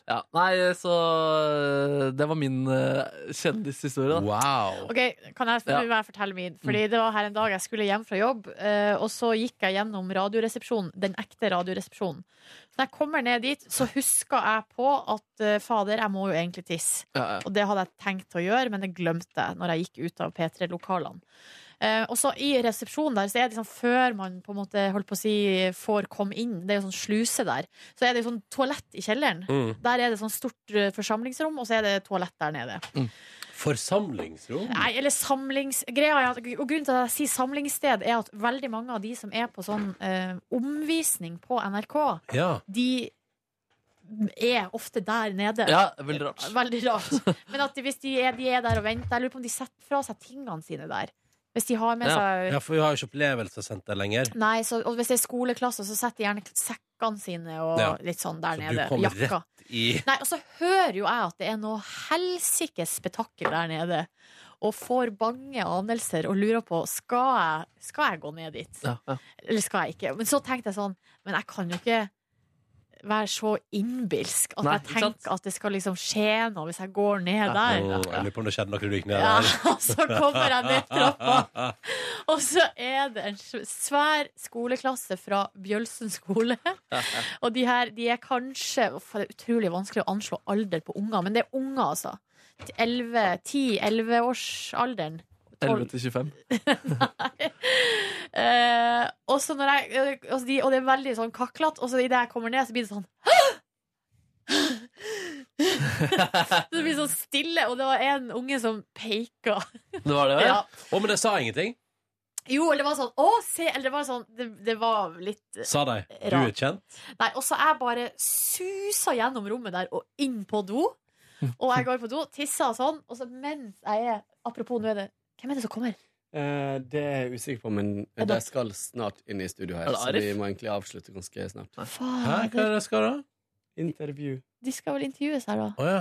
ja. Nei, så Det var min eh, kjendishistorie, da. Wow. Ok, kan jeg, Ja. Mm. vil jeg fortelle min? Fordi det var her en dag jeg skulle hjem fra jobb, eh, og så gikk jeg gjennom radioresepsjonen, den ekte radioresepsjonen. Så når jeg kommer ned dit, så husker jeg på at eh, fader, jeg må jo egentlig tisse. Ja, ja. Og det hadde jeg tenkt å gjøre, men det glemte jeg når jeg gikk ut av P3-lokalene. Eh, og så I resepsjonen der, så er det liksom før man på en måte, holdt på å si, får komme inn, det er jo sånn sluse der, så er det jo sånn toalett i kjelleren. Mm. Der er det sånn stort eh, forsamlingsrom, og så er det toalett der nede. Mhm. Forsamlingsrom? Nei, eller samlingsgreia er at- Og grunnen til at jeg sier samlingssted, er at veldig mange av de som er på sånn eh, omvisning på NRK, Ja. de er ofte der nede. ja, veldig rart. Veldig rart. Men at de, hvis de er, de er der og venter Jeg lurer på om de setter fra seg tingene sine der. Hvis de har med Ja. seg ja, for vi har jo ikke opplevelsessenter lenger. Nei, så, og hvis det er skoleklasser, så setter de gjerne sekkene sine og Ja. litt sånn der Så du nede. kom Jakka. I Nei, og så hører jo jeg at det er noe helsikes spetakkel der nede. Og får bange anelser og lurer på skal jeg, skal jeg gå ned dit. Ja, ja. Eller skal jeg ikke. Men så tenkte jeg sånn Men jeg kan jo ikke være så innbilsk at Nei, jeg ikke sant? tenker at det skal liksom skje noe hvis jeg går ned Åh, der. Jeg lurer på om det skjedde noe når du gikk ned Ja, der. og så kommer jeg ned trappa, og så er det en sv- svær skoleklasse fra Bjølsen skole. Og de her de er kanskje uff, Det er utrolig vanskelig å anslå alder på unger, men det er unger, altså. 10-11-årsalderen. 11 til 25. Eh, og så når jeg eh, altså de, Og det er veldig sånn kaklete, og så idet jeg kommer ned, så blir det sånn Så det blir sånn stille, og det var en unge som peka. Det var det, Ja. ja. Å, men det sa ingenting. Jo, eller det var sånn Å, se! Eller det var sånn Det, det var litt eh, Sa de. Du er Rart. kjent. Nei, og så jeg bare susa gjennom rommet der og inn på do. Og jeg går på do, tisser og sånn, og så mens jeg er Apropos, nå er det Hvem er det som kommer? Eh, det er jeg usikker på, men Er det- de skal snart inn i studio Er her. det Så Arif? vi må egentlig avslutte ganske snart. Hæ, hva Fader. er det jeg skal da? Intervju. De skal vel intervjues her, da. Å ja.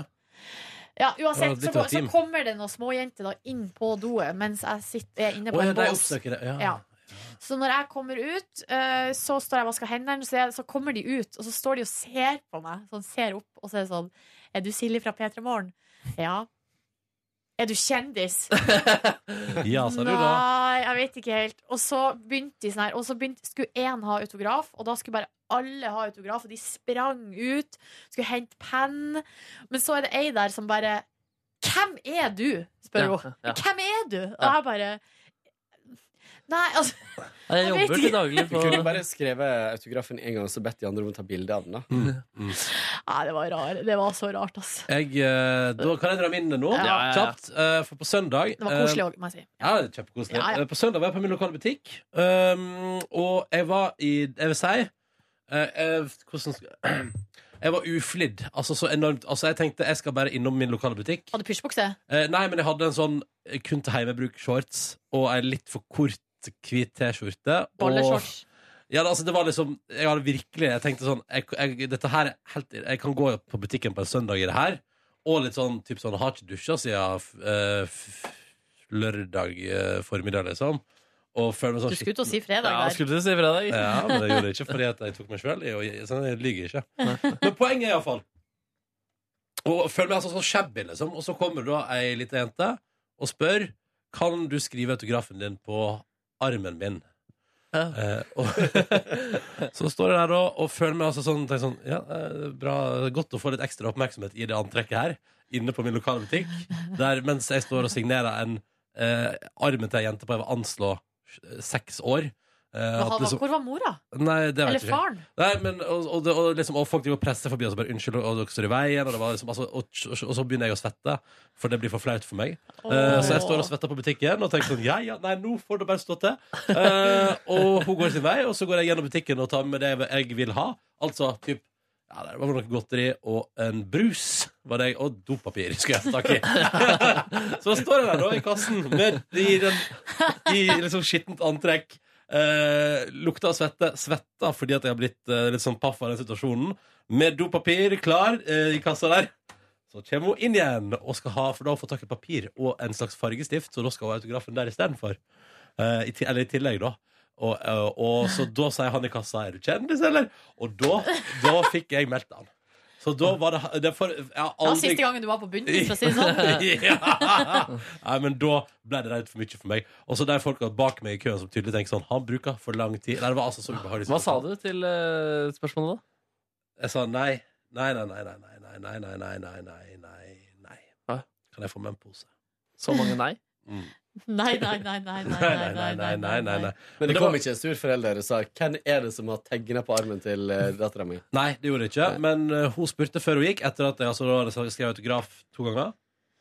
Ja, Ja, uansett, litt så, av går- så team. kommer det noen småjenter da inn på doet mens jeg sitter, er inne på Å, ja, en de bås. oppsøker det. Ja. Ja. Så når jeg kommer ut, eh, så står jeg og vasker hendene, så, jeg, så kommer de ut, og så står de og ser på meg. Sånn, ser opp, og så er det sånn Er du Silje fra P3 Morgen? Ja. Er du kjendis? Ja, sa du da. Nei, jeg vet ikke helt. Og så begynte de sånn her, og så begynte, skulle én ha autograf, og da skulle bare alle ha autograf, og de sprang ut, skulle hente penn. Men så er det ei der som bare Hvem er du? spør Ja, hun. ja. Hvem er du? Og jeg bare Nei, altså Jeg Jeg vet jobber ikke. til daglig Du kunne jo på bare skrevet autografen en gang og så bedt de andre om å ta bilde av den. da Nei, det var rar. Det var så rart, ass. Jeg, eh, da kan jeg dra min nå, Ja. Ja, ja, ja. kjapt. eh, For på søndag Det var eh, koselig òg, må jeg si. Ja, det er kjempekoselig. Ja, ja. Eh, På søndag var jeg på min lokale butikk, um, og jeg var i Jeg vil si eh, jeg, Hvordan skal Jeg var uflidd. Altså så enormt. Altså, jeg tenkte jeg skal bare innom min lokale butikk. Hadde pysjbukse? Eh, nei, men jeg hadde en sånn eh, kun til hjemmebruk-shorts og ei litt for kort hvit T-skjorte. og- Bolleshorts? Ja, det- altså, det var liksom Jeg hadde virkelig Jeg tenkte sånn jeg, jeg, Dette her er helt Jeg kan gå på butikken på en søndag i det her. Og litt sånn typ sånn Har ikke dusja siden eh, f- lørdag eh, formiddag, liksom. Og føler meg sånn Du skulle ut og si fredag Ja, der. skulle til å si fredag. ja, men jeg gjorde det ikke fordi at jeg tok meg sjøl i å gi- sånn, Jeg lyver ikke. Men poenget er iallfall Og føler meg altså så shabby, liksom. Og så kommer da ei lita jente og spør Kan du skrive autografen din på armen min. Ja. Eh, og så står jeg der da og føler meg altså sånn, tenker sånn ja, eh, bra, Godt å få litt ekstra oppmerksomhet i det antrekket her, inne på min lokale butikk, der mens jeg står og signerer en eh, armen til ei jente på jeg vil anslå eh, seks år. Eh, Men at han- liksom- Hvor var mora? Nei, det vet Eller jeg ikke. faren? Nei, men, og, og, det- og, liksom, og folk driver og presser forbi og så bare 'unnskyld, og dere står i veien', og, det var liksom, altså, og, og, og så begynner jeg å svette, for det blir for flaut for meg. Eh, Så jeg står og svetter på butikken og tenker sånn Ja, ja, nei, nå får det bare stå til. Eh, og hun går sin vei, og så går jeg gjennom butikken og tar med det jeg vil ha. Altså typ ja, det var noe godteri og en brus var det jeg, og dopapir skulle jeg ha tak i. så da står jeg der da i kassen med, i, den, i liksom skittent antrekk. Eh, lukta av svette. Svetta fordi at jeg har blitt eh, litt sånn paff av den situasjonen. Med dopapir klar eh, i kassa der. Så kommer hun inn igjen og skal ha, for da har hun fått tak i papir og en slags fargestift, så da skal hun ha autografen der istedenfor. Uh, i, ti- eller i tillegg, da. Og, eh, og så da sier han i kassa 'Er du kjendis, eller?' Og da, da fikk jeg meldt han. Så da var det, det for, jeg har Det var aldri siste gangen du var på bunnen, for å si det sånn. ja. Nei, men da ble det rett for mye for meg. Og så de folka bak meg i køen som tydelig tenker sånn Han bruker for lang tid. Nei, det var altså så ubehagelig. Hva sa du til eh, spørsmålet da? Jeg sa nei. Nei, nei, nei, nei, nei, nei, nei, nei, nei, nei, nei, nei, nei. Hæ? Kan jeg få med en pose? Så mange nei? Mm. Nei, nei, nei, nei, nei, Nei, nei, nei, nei, nei, nei, nei. Men det Det var- kom ikke en sur forelder og sa 'Hvem er det som har tegna på armen til eh, dattera mi?' Nei, det gjorde jeg ikke. Men eh, hun spurte før hun gikk, etter at jeg altså, da hadde skrevet autograf to ganger,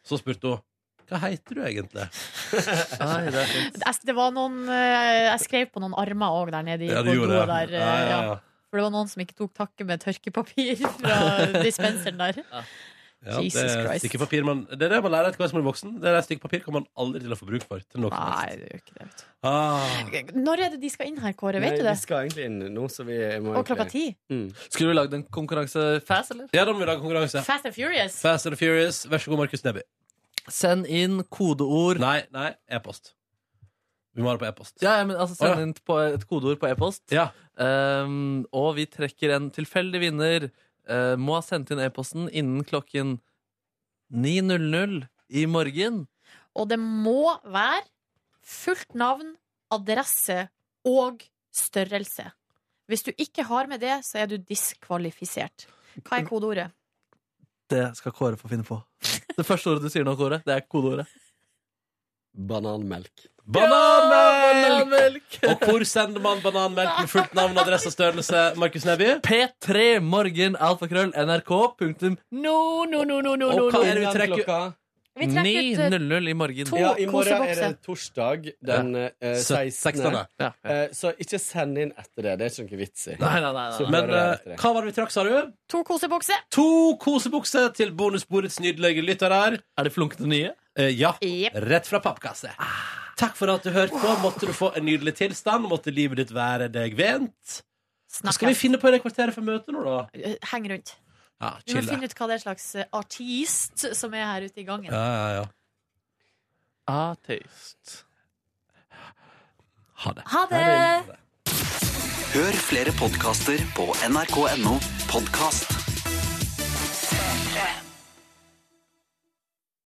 så spurte hun hva heter du egentlig? Nei, det er fint. Jeg, Altså, det var noen, eh, jeg skrev på noen armer òg der nede i Ja, ja, du gjorde det. Der, eh, Ja, ja, ja. ja. For det var noen som ikke tok takke med tørkepapir fra dispenseren der. Ja, Jesus det, er et Christ. stykke papir man, det er det man lærer etter hvert som man er voksen. Det er et stykke papir kommer man aldri til å få bruk for. Til noe som helst. Nei, det gjør ikke det. vet Ah. du. Når er det de skal inn her, Kåre? Vet du Nei, det? vi skal egentlig inn nå, så vi må Og klokka egentlig- ti? Skulle du lagd en konkurranse fast, eller? Ja, da må vi lage konkurranse. Fast and Furious? Fast and Furious, vær så god, Markus Neby. Send inn kodeord. Nei, nei, e-post. Vi må ha det på e-post. Ja, ja, men altså Send Å, ja. inn på et kodeord på e-post. Ja. Ehm, og vi trekker en tilfeldig vinner. Eh, må ha sendt inn e-posten innen klokken 9.00 i morgen. Og det må være fullt navn, adresse og størrelse. Hvis du ikke har med det, så er du diskvalifisert. Hva er kodeordet? Det skal Kåre få finne på. Det første ordet du sier nå, Kåre, det er kodeordet. Bananmelk. Bananmelk! Og hvor sender man bananmelk med fullt navn, adresse og størrelse? Markus Neby? P3 morgen alfakrøll nrk punktum No, no, no, no, no, Og no, hva no. er det vi trekker- Klokka- Vi trekker ut eh, 9.00 i morgen. To Ja, I morgen er kosebokser. det torsdag den eh, Se- 16. Ja. Nei, Eh, så ikke send inn etter det. Det er ikke noe vits i. nei, nei, nei, nei. Men eh, hva var det vi trakk, sa du? to kosebokser. To kosebukser til bonusbordets nydelige lyttere. Er det flunkende nye? Eh, ja. Jep. Rett fra pappkasse. Takk for at du hørte på. Måtte du få en nydelig tilstand. Måtte livet ditt være deg vent. Hva skal vi Snakkes. finne på i det kvarteret for møtet nå, da? Eh, Heng rundt. Ja, Vi må chill. finne ut hva det er slags eh, artist som er her ute i gangen. Ja, ja, ja. Ah, taste. Ha det. Ha det! Hør flere podkaster på nrk.no podkast.